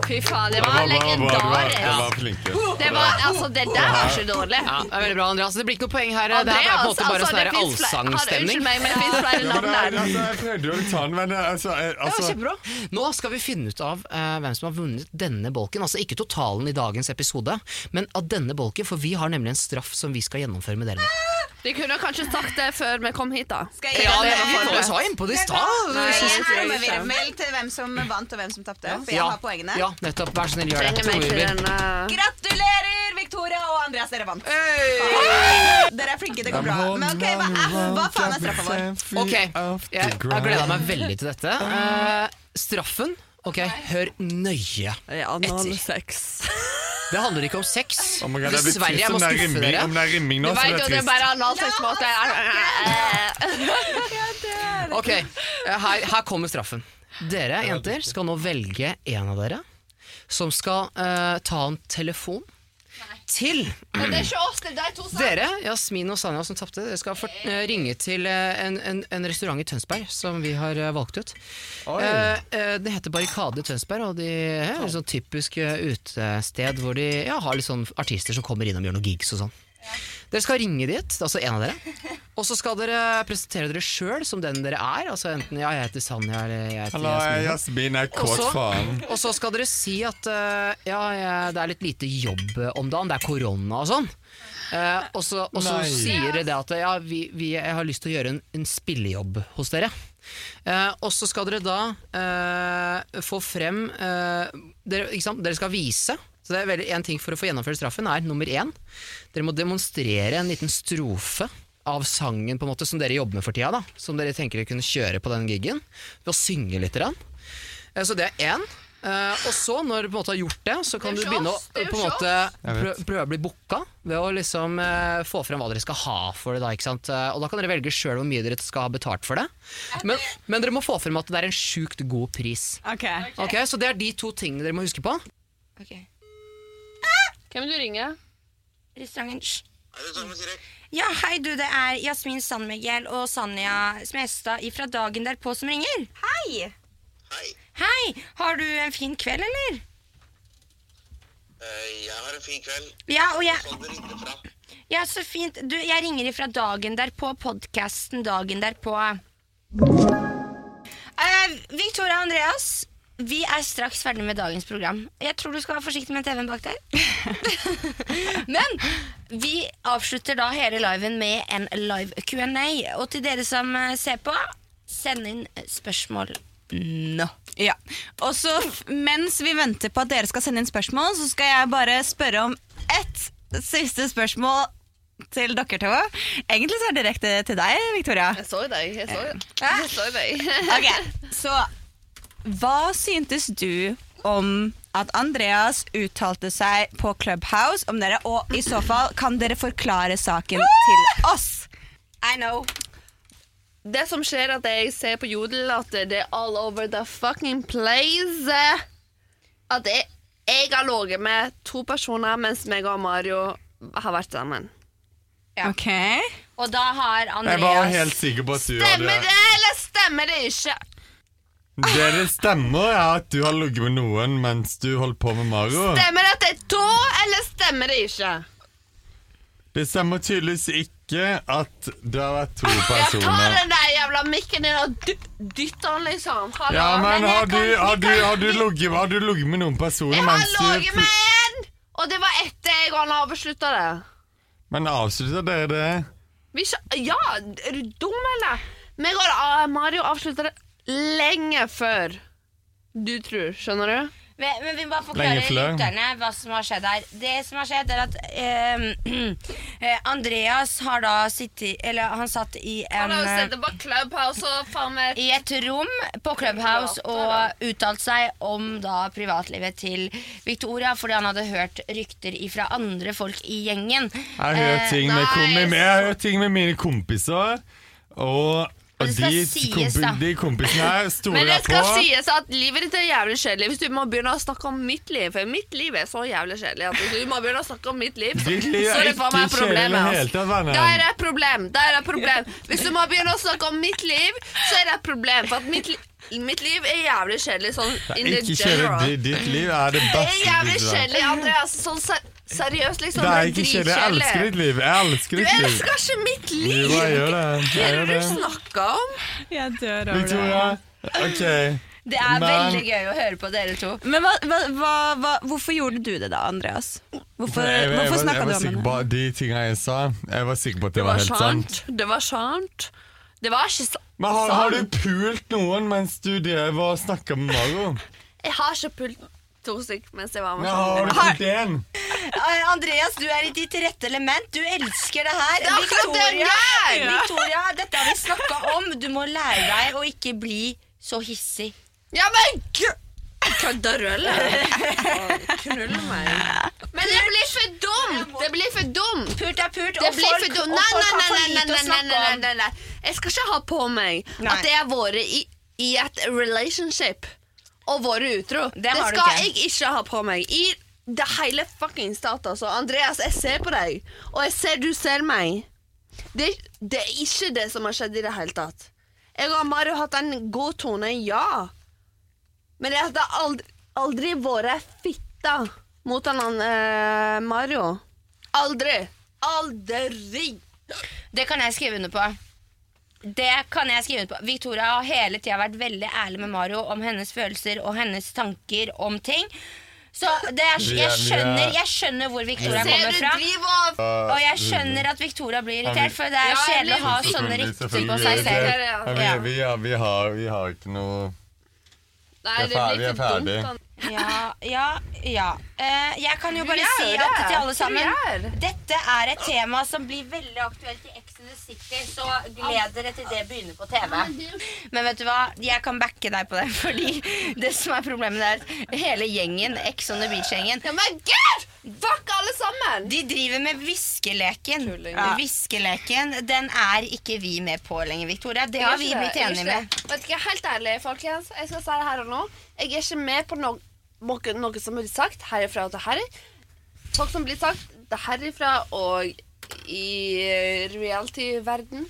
Fy faen, det
Det
var
var bra, bra, bra. Dere
legendarisk.
var flinke.
Det var, altså, det der var ikke dårlig.
Ja, det er veldig bra, Andreas. Det blir ikke noe poeng her. Det her er på en måte bare
altså,
sånn
det
her
finnes fle- Unnskyld
allsangstemning.
meg, men det fins flere
Ja, men
navn
det er-
der.
altså, jeg prøvde jo å ta den, men eh, altså, eh, altså
Nå skal vi finne ut av eh, hvem som har vunnet denne bolken. Altså ikke totalen i dagens episode, men av denne bolken, for vi har nemlig en straff som vi skal gjennomføre med dere. nå.
De kunne kanskje sagt det før vi kom hit, da.
Skal
Ja,
det
det
var
vi
forberedt.
var- sa innpå det i stad.
Nei,
så-
jeg
synes
har
jeg ikke.
trommevirvel til hvem som vant og hvem som tapte. For jeg
Ja,
har poengene.
Ja, nettopp. Vær så snill, gjør
Trenger
det.
meg
Tror
til
vi.
den uh...
Gratulerer, Victoria og Andreas, dere vant. Dere er flinke, det går bra. Men ok, hva, er, hva faen er straffa vår?
Ok, jeg har gleda meg veldig til dette. Eh, straffen Ok, hør nøye. Det handler ikke om sex.
Oh my God, jeg blir
Dessverre,
trist
jeg må
om det er
skuffe
rimming-
dere.
Om det er rimming nå,
Du
så
veit
blir
jo,
jeg
det er
trist.
bare analsexmåte.
Ok, eh, her, her kommer straffen. Dere jenter skal nå velge en av dere som skal eh, ta en telefon til
Men det er ikke oss, det er de to som
dere, Jasmin og Sanja som tapte. Dere skal fort- eh, ringe til eh, en, en, en restaurant i Tønsberg som vi har eh, valgt ut. Eh, eh, det heter Barrikade Tønsberg, og de er et sånn typisk eh, utested hvor de ja, har litt sånn artister som kommer innom og gjør noen gigs og sånn. Dere skal ringe dit, altså en av dere. Og så skal dere presentere dere sjøl som den dere er. Altså enten ja, jeg heter Sanja eller jeg heter
Hallo, jeg er Jasmin
Jasmin.
jeg er
Og
kåt
så-
faen.
Og så skal dere si at eh, ja, jeg- det er litt lite jobb eh, om dagen, det er korona og sånn. Eh, og så, og så
Nei.
sier dere det at ja, vi, vi, jeg har lyst til å gjøre en, en spillejobb hos dere. Eh, og så skal dere da eh, få frem eh, dere, ikke sant? dere skal vise. Så det er veldig, en ting for å få gjennomført straffen er nummer én. Dere må demonstrere en liten strofe av sangen på en måte som dere jobber med for tida. da Som dere tenker dere kunne kjøre på den giggen. Ved å synge litt. Grann. Eh, Så det er én. Eh, og så, når du på en måte har gjort det, så kan du
Det er jo
begynne å
oss, det er jo
på en
ikke
måte
Jeg
prø
vet.
prøve å bli booka ved å liksom eh, få frem hva dere skal ha for det. da, ikke sant? Eh, Og da kan dere velge sjøl hvor mye dere skal ha betalt for det. Men, men dere må få frem at det er en sjukt god pris. Ok, Så det er de to tingene dere må huske på.
Hvem vil du ringe?
Restauranten Hysj. Ja, hei du, det er Jasmin Sandmiguel og Sanja Smestad ifra Dagen derpå som ringer.
Hei!
Hei, har du en fin kveld, eller?
eh, Jeg har en fin kveld.
Ja, og jeg
Sånn du ringte fra.
Ja, så fint. Du, jeg ringer ifra Dagen derpå, podkasten Dagen derpå. Eh, Victoria og Andreas, Vi er straks ferdig med dagens program. Jeg tror du skal være forsiktig med TV-en
(laughs)
bak der. Men vi avslutter da hele liven med en live Q&A. Og til dere som eh, ser på, send inn spørsmål nå.
Ja. Og så f- mens vi venter på at dere skal sende inn spørsmål, så skal jeg bare spørre om ett siste spørsmål til dere to. Egentlig så er det direkte til deg, Victoria.
Jeg så deg. Jeg så,
Eh,
jeg så deg.
Ok, så hva syntes du om at Andreas uttalte seg på Clubhouse om dere, og i så fall kan dere forklare saken til oss?
I know.
Det som skjer, er at jeg ser på Jodel at det er all over the fucking place. At jeg, jeg har ligget med to personer mens meg og Mario har vært sammen.
Ok.
Og da har
Jeg var
Andreas
helt sikker på at du
Stemmer
hadde
det, eller stemmer det ikke?
Dere stemmer ja, at du har ligget med noen mens du holdt på med Mario.
Stemmer det at det er to, eller stemmer det ikke?
Det stemmer tydeligvis ikke at det har vært to
Jeg tar
personer.
den der jævla mikken din og dy- dytter den, liksom. Hallo.
Ja, men har
jeg
du,
kan-
har du, har du,
jeg-
ligget- har du ligget med noen personer
Jeg har
mens
ligget
du
med én, og det var etter jeg og han avslutta det.
Men avslutta dere det?
Vi skjø- ja, er du dum, eller? Meg og ah, Mario avslutta det lenge før du tror, skjønner du?
Men men vi må bare forklare
Lenge fløy.
lytterne hva som har skjedd her. Det som har skjedd, er at ehm, (clears throat) eh, eh, Andreas har da sittet Eller han satt i en eh,
det var Clubhouse og faen meg
i et rom på Clubhouse og uttalt seg om da privatlivet til Victoria fordi han hadde hørt rykter ifra andre folk i gjengen.
(laughs)
Jeg hører
Eh,
ting med,
nei,
kom, jeg har hørt ting med mine kompiser, og,
det
og de,
skal sies,
kompi,
da.
de kompisene
(laughs)
her stoler
Men det
jeg på.
skal sies at livet ditt er jævlig kjedelig hvis du må begynne å snakke om mitt liv. For mitt liv er så jævlig kjedelig at hvis du må begynne å snakke om mitt liv. Så,
(laughs) Ditt liv
så
er
er det
ikke
faen meg
kjedelig i
problemet.
det
ass.
hele tatt, vennen.
Da er det et problem. Da er det et problem. Hvis du må begynne å snakke om mitt liv, så er det et problem. For at mitt, li mitt liv er jævlig kjedelig sånn in the
Ikke kjøre
general.
ditt, ditt liv er det
Det
beste.
er jævlig
livet.
kjedelig, Andreas. Sånn ser seriøst, liksom.
Det er ikke kjedelig. Jeg elsker ditt liv. Jeg elsker
Du
ditt liv.
elsker ikke mitt
Jo,
liv!
jeg gjør det.
Hva
Jeg
er
gjør
det
det.
du snakker om?
Jeg dør
Victoria, OK.
Det er
Men-
veldig gøy å høre på dere to.
Men hva, hva, hva, hva, hvorfor gjorde du det da, Andreas? Hvorfor,
Jeg, jeg,
hvorfor
var- jeg
snakka du
var
om
sikker på
henne?
de tingene jeg sa. Jeg var sikker på at det
Det
var
var
helt sant.
sant. Det var sant. Det var ikke sant.
Men har, har du pult noen mens du drev og snakka med Mario?
Jeg har ikke pult to stykker mens jeg var med.
Ja, har du pult én?
Eh, Andreas, du er i ditt rette element. Du elsker det her.
er akkurat det
Victoria,
jeg er!
Victoria, dette har vi snakka om. Du må lære deg å ikke bli så hissig.
Ja, men gud! Kødder du,
(laughs)
eller? Knull meg. Men det blir for dumt! Det blir for dumt!
Pult er pult,
Det
og
blir
folk,
for dumt.
og
Nei,
folk
nei,
har
nei,
for
nei,
lite å
nei, nei,
snakke
nei,
om.
nei, nei. Jeg skal ikke ha på meg
Nei.
at jeg har vært i, i et relationship og vært utro. Det,
har du
skal
ikke.
jeg ikke ha på meg. I det hele fucking stat, altså. Andreas, jeg ser på deg, og jeg ser du ser meg. Det, det er ikke det som har skjedd i det hele tatt. Jeg og Mario har hatt en god tone, ja. Men jeg hadde aldri, aldri vært fitta mot han eh, Mario. Aldri. Aldri.
Det kan jeg skrive under på. Det kan jeg skrive under på. Victoria har hele tida vært veldig ærlig med Mario om hennes følelser og hennes tanker om ting. Så det er, jeg,
Vi er- vi er- Mm.
skjønner, jeg skjønner hvor Victoria
Ser
kommer
du
fra.
driver og
Og jeg skjønner at Victoria blir irritert, for det
Ja,
er
jeg
kjedelig å ha
blir-
sånne
Selvfølgelig,
rykter på
selvfølgelig.
seg selv.
selv.
Ja, vi, vi, ja, vi, har, vi har ikke noe
Nei,
Vi er ferdig, vi er ferdig.
Ja, ja, ja. Eh, jeg kan jo bare
gjør
si
det.
at til alle
Du
sammen
gjør.
Dette er et tema som blir veldig aktuelt i Ex and the City, så gled dere til det begynner på TV. Men vet du hva, jeg kan backe deg på det, fordi det som er problemet, det er at hele gjengen, Ex on the Beach-gjengen,
Ja, men gud! Fuck alle sammen!
de driver med viskeleken.
Ja.
Viskeleken, den er ikke vi med på lenger, Victoria. Det har vi
Ikke det,
blitt enige
ikke det.
med.
Vet ikke, Helt ærlig, folkens. Jeg skal si det her og nå. Jeg er ikke med på noe, noe, noe som blir sagt herifra og til her. Folk som blir sagt det herifra og i eh, reality-verden.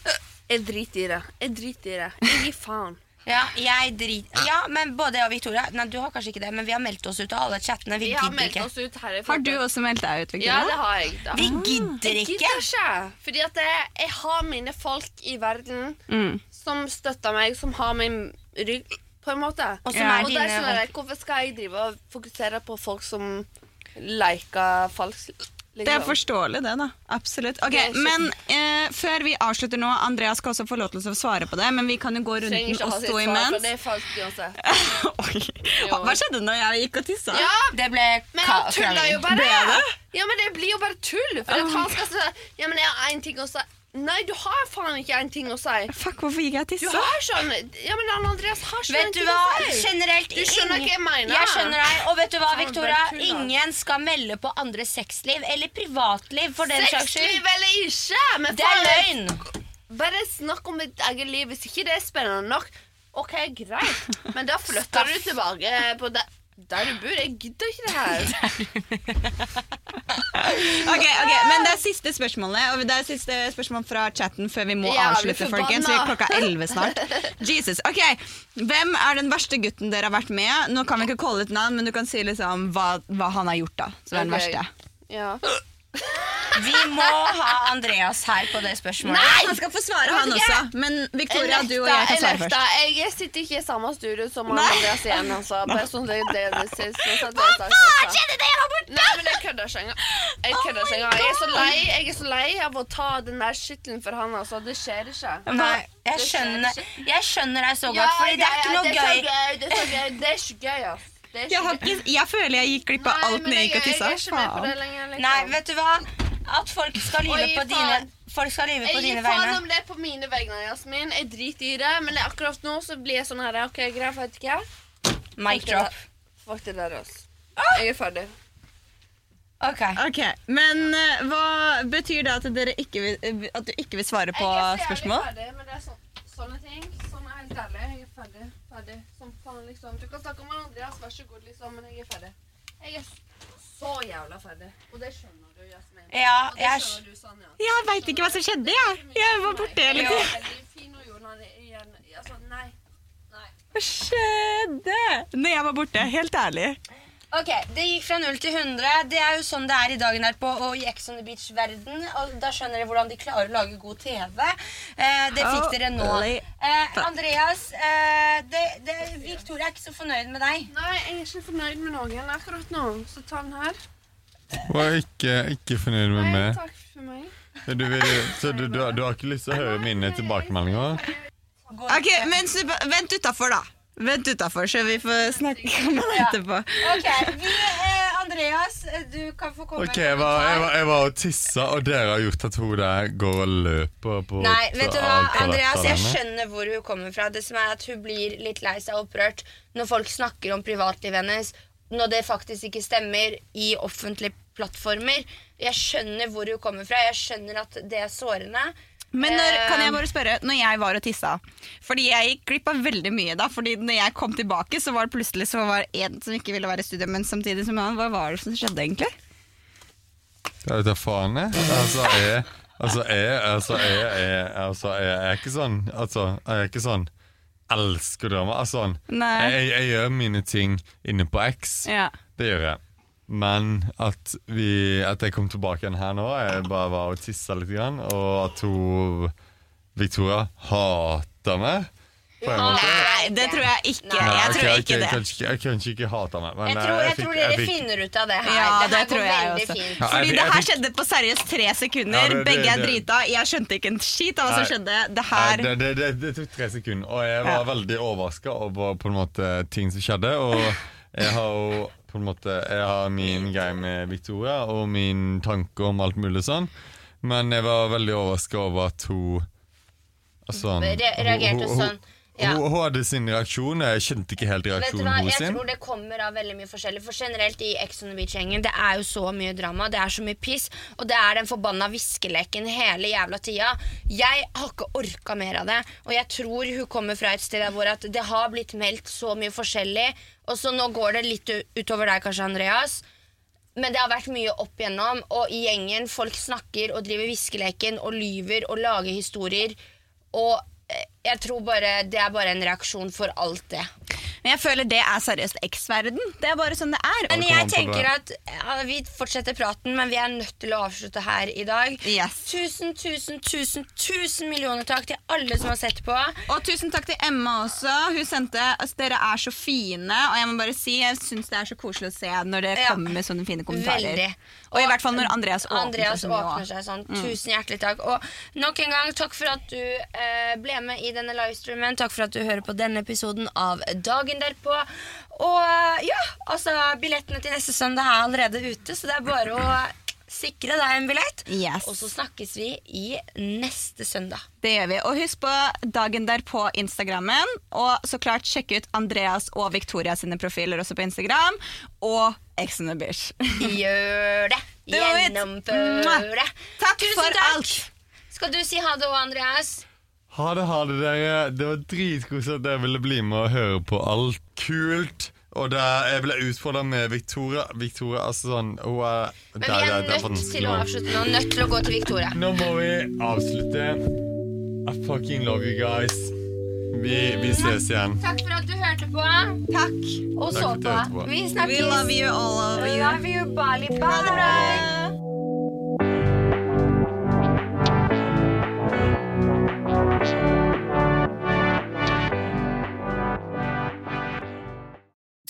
Jeg driter i det. Jeg driter i det. Jeg gir faen.
Ja, jeg drit... Ja, men både jeg og Victoria Nei, du har kanskje ikke det, men vi har meldt oss ut av alle chattene. Vi
Vi har
gidder
meldt
ikke.
oss ut herifra.
Har du også meldt deg ut,
Ja, det
Victoria?
har jeg. Da.
Vi gidder
Ah, Jeg
ikke!
gidder ikke. Fordi at jeg,
Mm.
jeg har mine folk i verden som støtter meg, som har min rygg. på en måte.
Og som
Ja.
er
Og det
dine
er sånn der, Hvorfor skal jeg drive og fokusere på folk som liker falskt? Liksom?
Det er forståelig, det. da. Absolutt. Ok,
Det er ikke-
Men eh, før vi avslutter nå Andrea skal også få lov til å svare på det, men vi kan jo gå
Trenger
runden
ikke
og
ha sitt
stå
svar, for
imens.
Det er falskt uansett.
(laughs) Oi. Hva skjedde når jeg gikk og tissa?
Ja,
Ah, Det ble
men
ka-
han tuller jo
krangling.
bare.
Ble det? Oh
Ja, men det blir jo bare tull. For at han skal si Ja, men jeg har én ting å si. Nei, du har faen ikke én ting å si.
Fuck, hvorfor gikk jeg og
Du
tissa?
har sånn Ja, men han Andreas har sånn
Vet du hva? Generelt
Du skjønner
ingen-
hva jeg mener.
Jeg skjønner deg. Og vet du hva,
Faen,
Victoria?
bare tull, da.
Ingen skal melde på andres sexliv eller privatliv for den saks skyld.
Sexliv eller ikke, men
Det er
faen,
løgn.
bare snakk om ditt eget liv. Hvis ikke det er spennende nok, OK, greit,
(laughs)
men da flytter du tilbake på der, der du bor. Jeg gidder ikke det
(laughs)
her.
Ok, ok, Men det er siste spørsmålet Og det er siste spørsmål fra chatten før vi må
Jævlig
avslutte.
forbanna.
folkens Vi er klokka 11 snart. Jesus, ok Hvem er den verste gutten dere har vært med? Nå kan vi ikke calle ut navn, men du kan si liksom hva, hva han har gjort. da Som er den
Ok.
verste
Ja.
Vi må ha Andreas her på det spørsmålet.
Han skal få svare, han også. Men Victoria, du og jeg
jeg,
kan svare
nekter.
først.
jeg sitter ikke i samme studio som han
Nei.
Andreas igjen. Altså. Bare sånn det, det, det, det, det, det, det, det, det, det. Nei, men jeg kødder ikke engang. Jeg
Oh
kødder ikke engang. Jeg er så lei Jeg er så lei av å ta den der skittelen for han. Altså. Det skjer ikke.
Nei, jeg
Det skjer
skjønner,
ikke.
jeg skjønner deg så godt, Fordi det er ikke noe
ja,
gøy.
Det er så gøy. Det er så gøy, det er så gøy ass. Det er
Jeg,
så
har
gøy.
ikke, jeg føler jeg gikk glipp av
Nei,
alt
men
når jeg gikk og
jeg-
tissa.
Jeg er ikke med på det
Faen.
lenger. Liksom.
altså. Nei, vet du hva? At folk skal lyve
Oi,
på dine
faen.
Folk skal lyve på
jeg
dine
gir faen
vegne.
om det er på mine vegne, Jasmin. Jeg driter i det. Men det er akkurat nå så blir jeg sånn her OK, greit, vet ikke jeg.
Mic drop. Ah!
Fuck det der, altså. Jeg er ferdig.
Ok.
Ok, Men eh, hva betyr det at, dere ikke vil, at du ikke vil svare på
jeg er så jævlig
spørsmål?
Ferdig, men det er sånn- sånne ting. Sånn er helt ærlig. Jeg er ferdig. Ferdig. Som faen, liksom. Du kan snakke om Andreas, vær så god, liksom, men jeg er ferdig. Jeg er så jævla ferdig. Og det skjønner du, Jasmin.
Ja,
Og det
jeg
skjønner du, Sanja.
Jeg veit ikke hva som skjedde, jeg. Jeg var borte liksom. hele tiden.
Altså,
Hva skjedde? Når jeg var borte, helt ærlig.
Ok, Det gikk fra 0 til 100. Det er jo sånn det er i dagen her på og i Ex on the Beach-verden. Og Da skjønner dere hvordan de klarer å lage god TV. Eh, det fikk dere nå.
Holy
Eh, Andreas, eh, det, det, Victoria er ikke så fornøyd med deg.
Nei, jeg er ikke fornøyd med noen akkurat nå, så ta den her.
Var ikke, ikke fornøyd med
Nei,
meg.
takk for meg.
Du vil, så du, du, har- du har ikke lyst til å høre mine tilbakemeldinger?
Ok, men snupp, Vent utafor, da. Vent utafor, så vi får snakke om det etterpå.
Ok, vi, eh, Andreas, eh, du kan få komme
Ok, Jeg var, jeg var, jeg var og tissa, og dere har gjort at hun der går og løper på
Nei, vet du hva,
alt toalettet
Andreas, jeg
alene.
skjønner hvor hun kommer fra. Det som er at Hun blir litt lei seg og opprørt når folk snakker om privatlivet hennes når det faktisk ikke stemmer i offentlige plattformer. Jeg skjønner hvor hun kommer fra. Jeg skjønner at det er sårende.
Men når,
Eh,
kan jeg bare spørre, når jeg var og tissa Fordi jeg gikk glipp av veldig mye da. Fordi når jeg kom tilbake, så var det plutselig så var det en som ikke ville være i studio, men samtidig som han. Hva var det som skjedde, egentlig?
Jeg vet da faen, jeg. Altså, jeg Altså, jeg, altså, jeg, jeg, altså, jeg, er ikke sånn Altså, jeg er ikke sånn Elsker drama. Altså, sånn.
Nei.
Jeg, jeg gjør mine ting inne på X.
Ja.
Det gjør jeg. Men at, vi, at jeg kom tilbake igjen her nå Jeg bare var og tissa litt, grann, og at hun Victoria hater meg. På en måte.
Nei, det tror jeg ikke. Jeg tror
ok, ok,
ikke det.
Kanskje, ikke- jeg kanskje ikke hata meg, men
Jeg tror,
eh,
jeg
fikk-
tror dere
jeg fikk-
finner ut av det her.
Ja,
det her
det tror
går
jeg
veldig
også.
fint.
Ja, jeg
Fordi
fikk-
det
jeg
her
fikk-
skjedde på seriøst tre sekunder.
Ja, det- det-
Begge er
det-
drita. Jeg skjønte ikke en skit av hva som
Nei.
skjedde. Det
Nei,
her
det, det, det, det tok tre sekunder, og jeg var veldig overraska over på en måte ting som skjedde. Og jeg har jo på en måte Jeg har min greie med Victoria og min tanke om alt mulig sånn, men jeg var veldig overraska over at hun Altså hun-
Re reagerte
hun- hun-
sånn. Ja.
Hun, hun hadde sin reaksjon, og jeg skjønte ikke helt
Vet du
reaksjonen
hva,
hennes.
Jeg
sin.
tror det kommer av veldig mye forskjellig. For generelt i Ex on the Beach-gjengen, det er jo så mye drama, det er så mye piss, og det er den forbanna viskeleken hele jævla tida. Jeg har ikke orka mer av det, og jeg tror hun kommer fra et sted der hvor at det har blitt meldt så mye forskjellig, og så nå går det litt u- utover deg kanskje, Andreas. Men det har vært mye opp igjennom, og i gjengen folk snakker og driver viskeleken og lyver og lager historier. Og eh, jeg tror bare det er bare en reaksjon for alt det.
Men jeg føler det er seriøst X-verden. Det er bare sånn det er.
Men
det
jeg
kommer an på
tenker
det.
at ja, Vi fortsetter praten, men vi er nødt til å avslutte her i dag.
Yes.
Tusen, tusen, tusen, tusen millioner takk til alle som har sett på.
Og tusen takk til Emma også. Hun sendte altså, Dere er så fine. Og jeg må bare si, jeg syns det er så koselig å se når det
Ja.
kommer med sånne fine kommentarer.
Veldig.
Og, i hvert fall når Andreas åpner
Andreas
seg. Mm. så mye
åpner
også.
seg sånn. Tusen hjertelig takk. Og nok en gang, takk for at du eh, ble med i denne livestreamen. Takk for at du hører på denne episoden av Dagen derpå. Og eh, ja, altså, billettene til neste søndag er allerede ute, så det er bare å sikre deg en billett.
Yes.
Og så snakkes vi i neste søndag.
Det gjør vi. Og husk på dagen derpå Instagrammen. Og så klart sjekk ut Andreas og Victoria sine profiler også på Instagram. Og Ex on the Beach.
Gjør det!
Do it.
Gjennomfør det!
Takk
Tusen
for
takk.
alt!
Skal du si ha det òg, Andreas?
Ha det, ha det, dere. Det var dritkoselig at dere ville bli med og høre på alt kult. Og det, jeg ble utfordra med Victoria. Victoria, altså sånn hun er,
Men
der,
vi
der,
er
der,
nødt
sånn.
til å avslutte nå. Nødt til å gå til Victoria.
Nå må vi avslutte. I fucking love you guys. Vi, vi ses igjen.
Takk for at du hørte på
Takk.
og
Takk
så
for at du
på.
hørte på.
Vi
We
snakkes.
love you all of you.
Love you, Bali. Bye.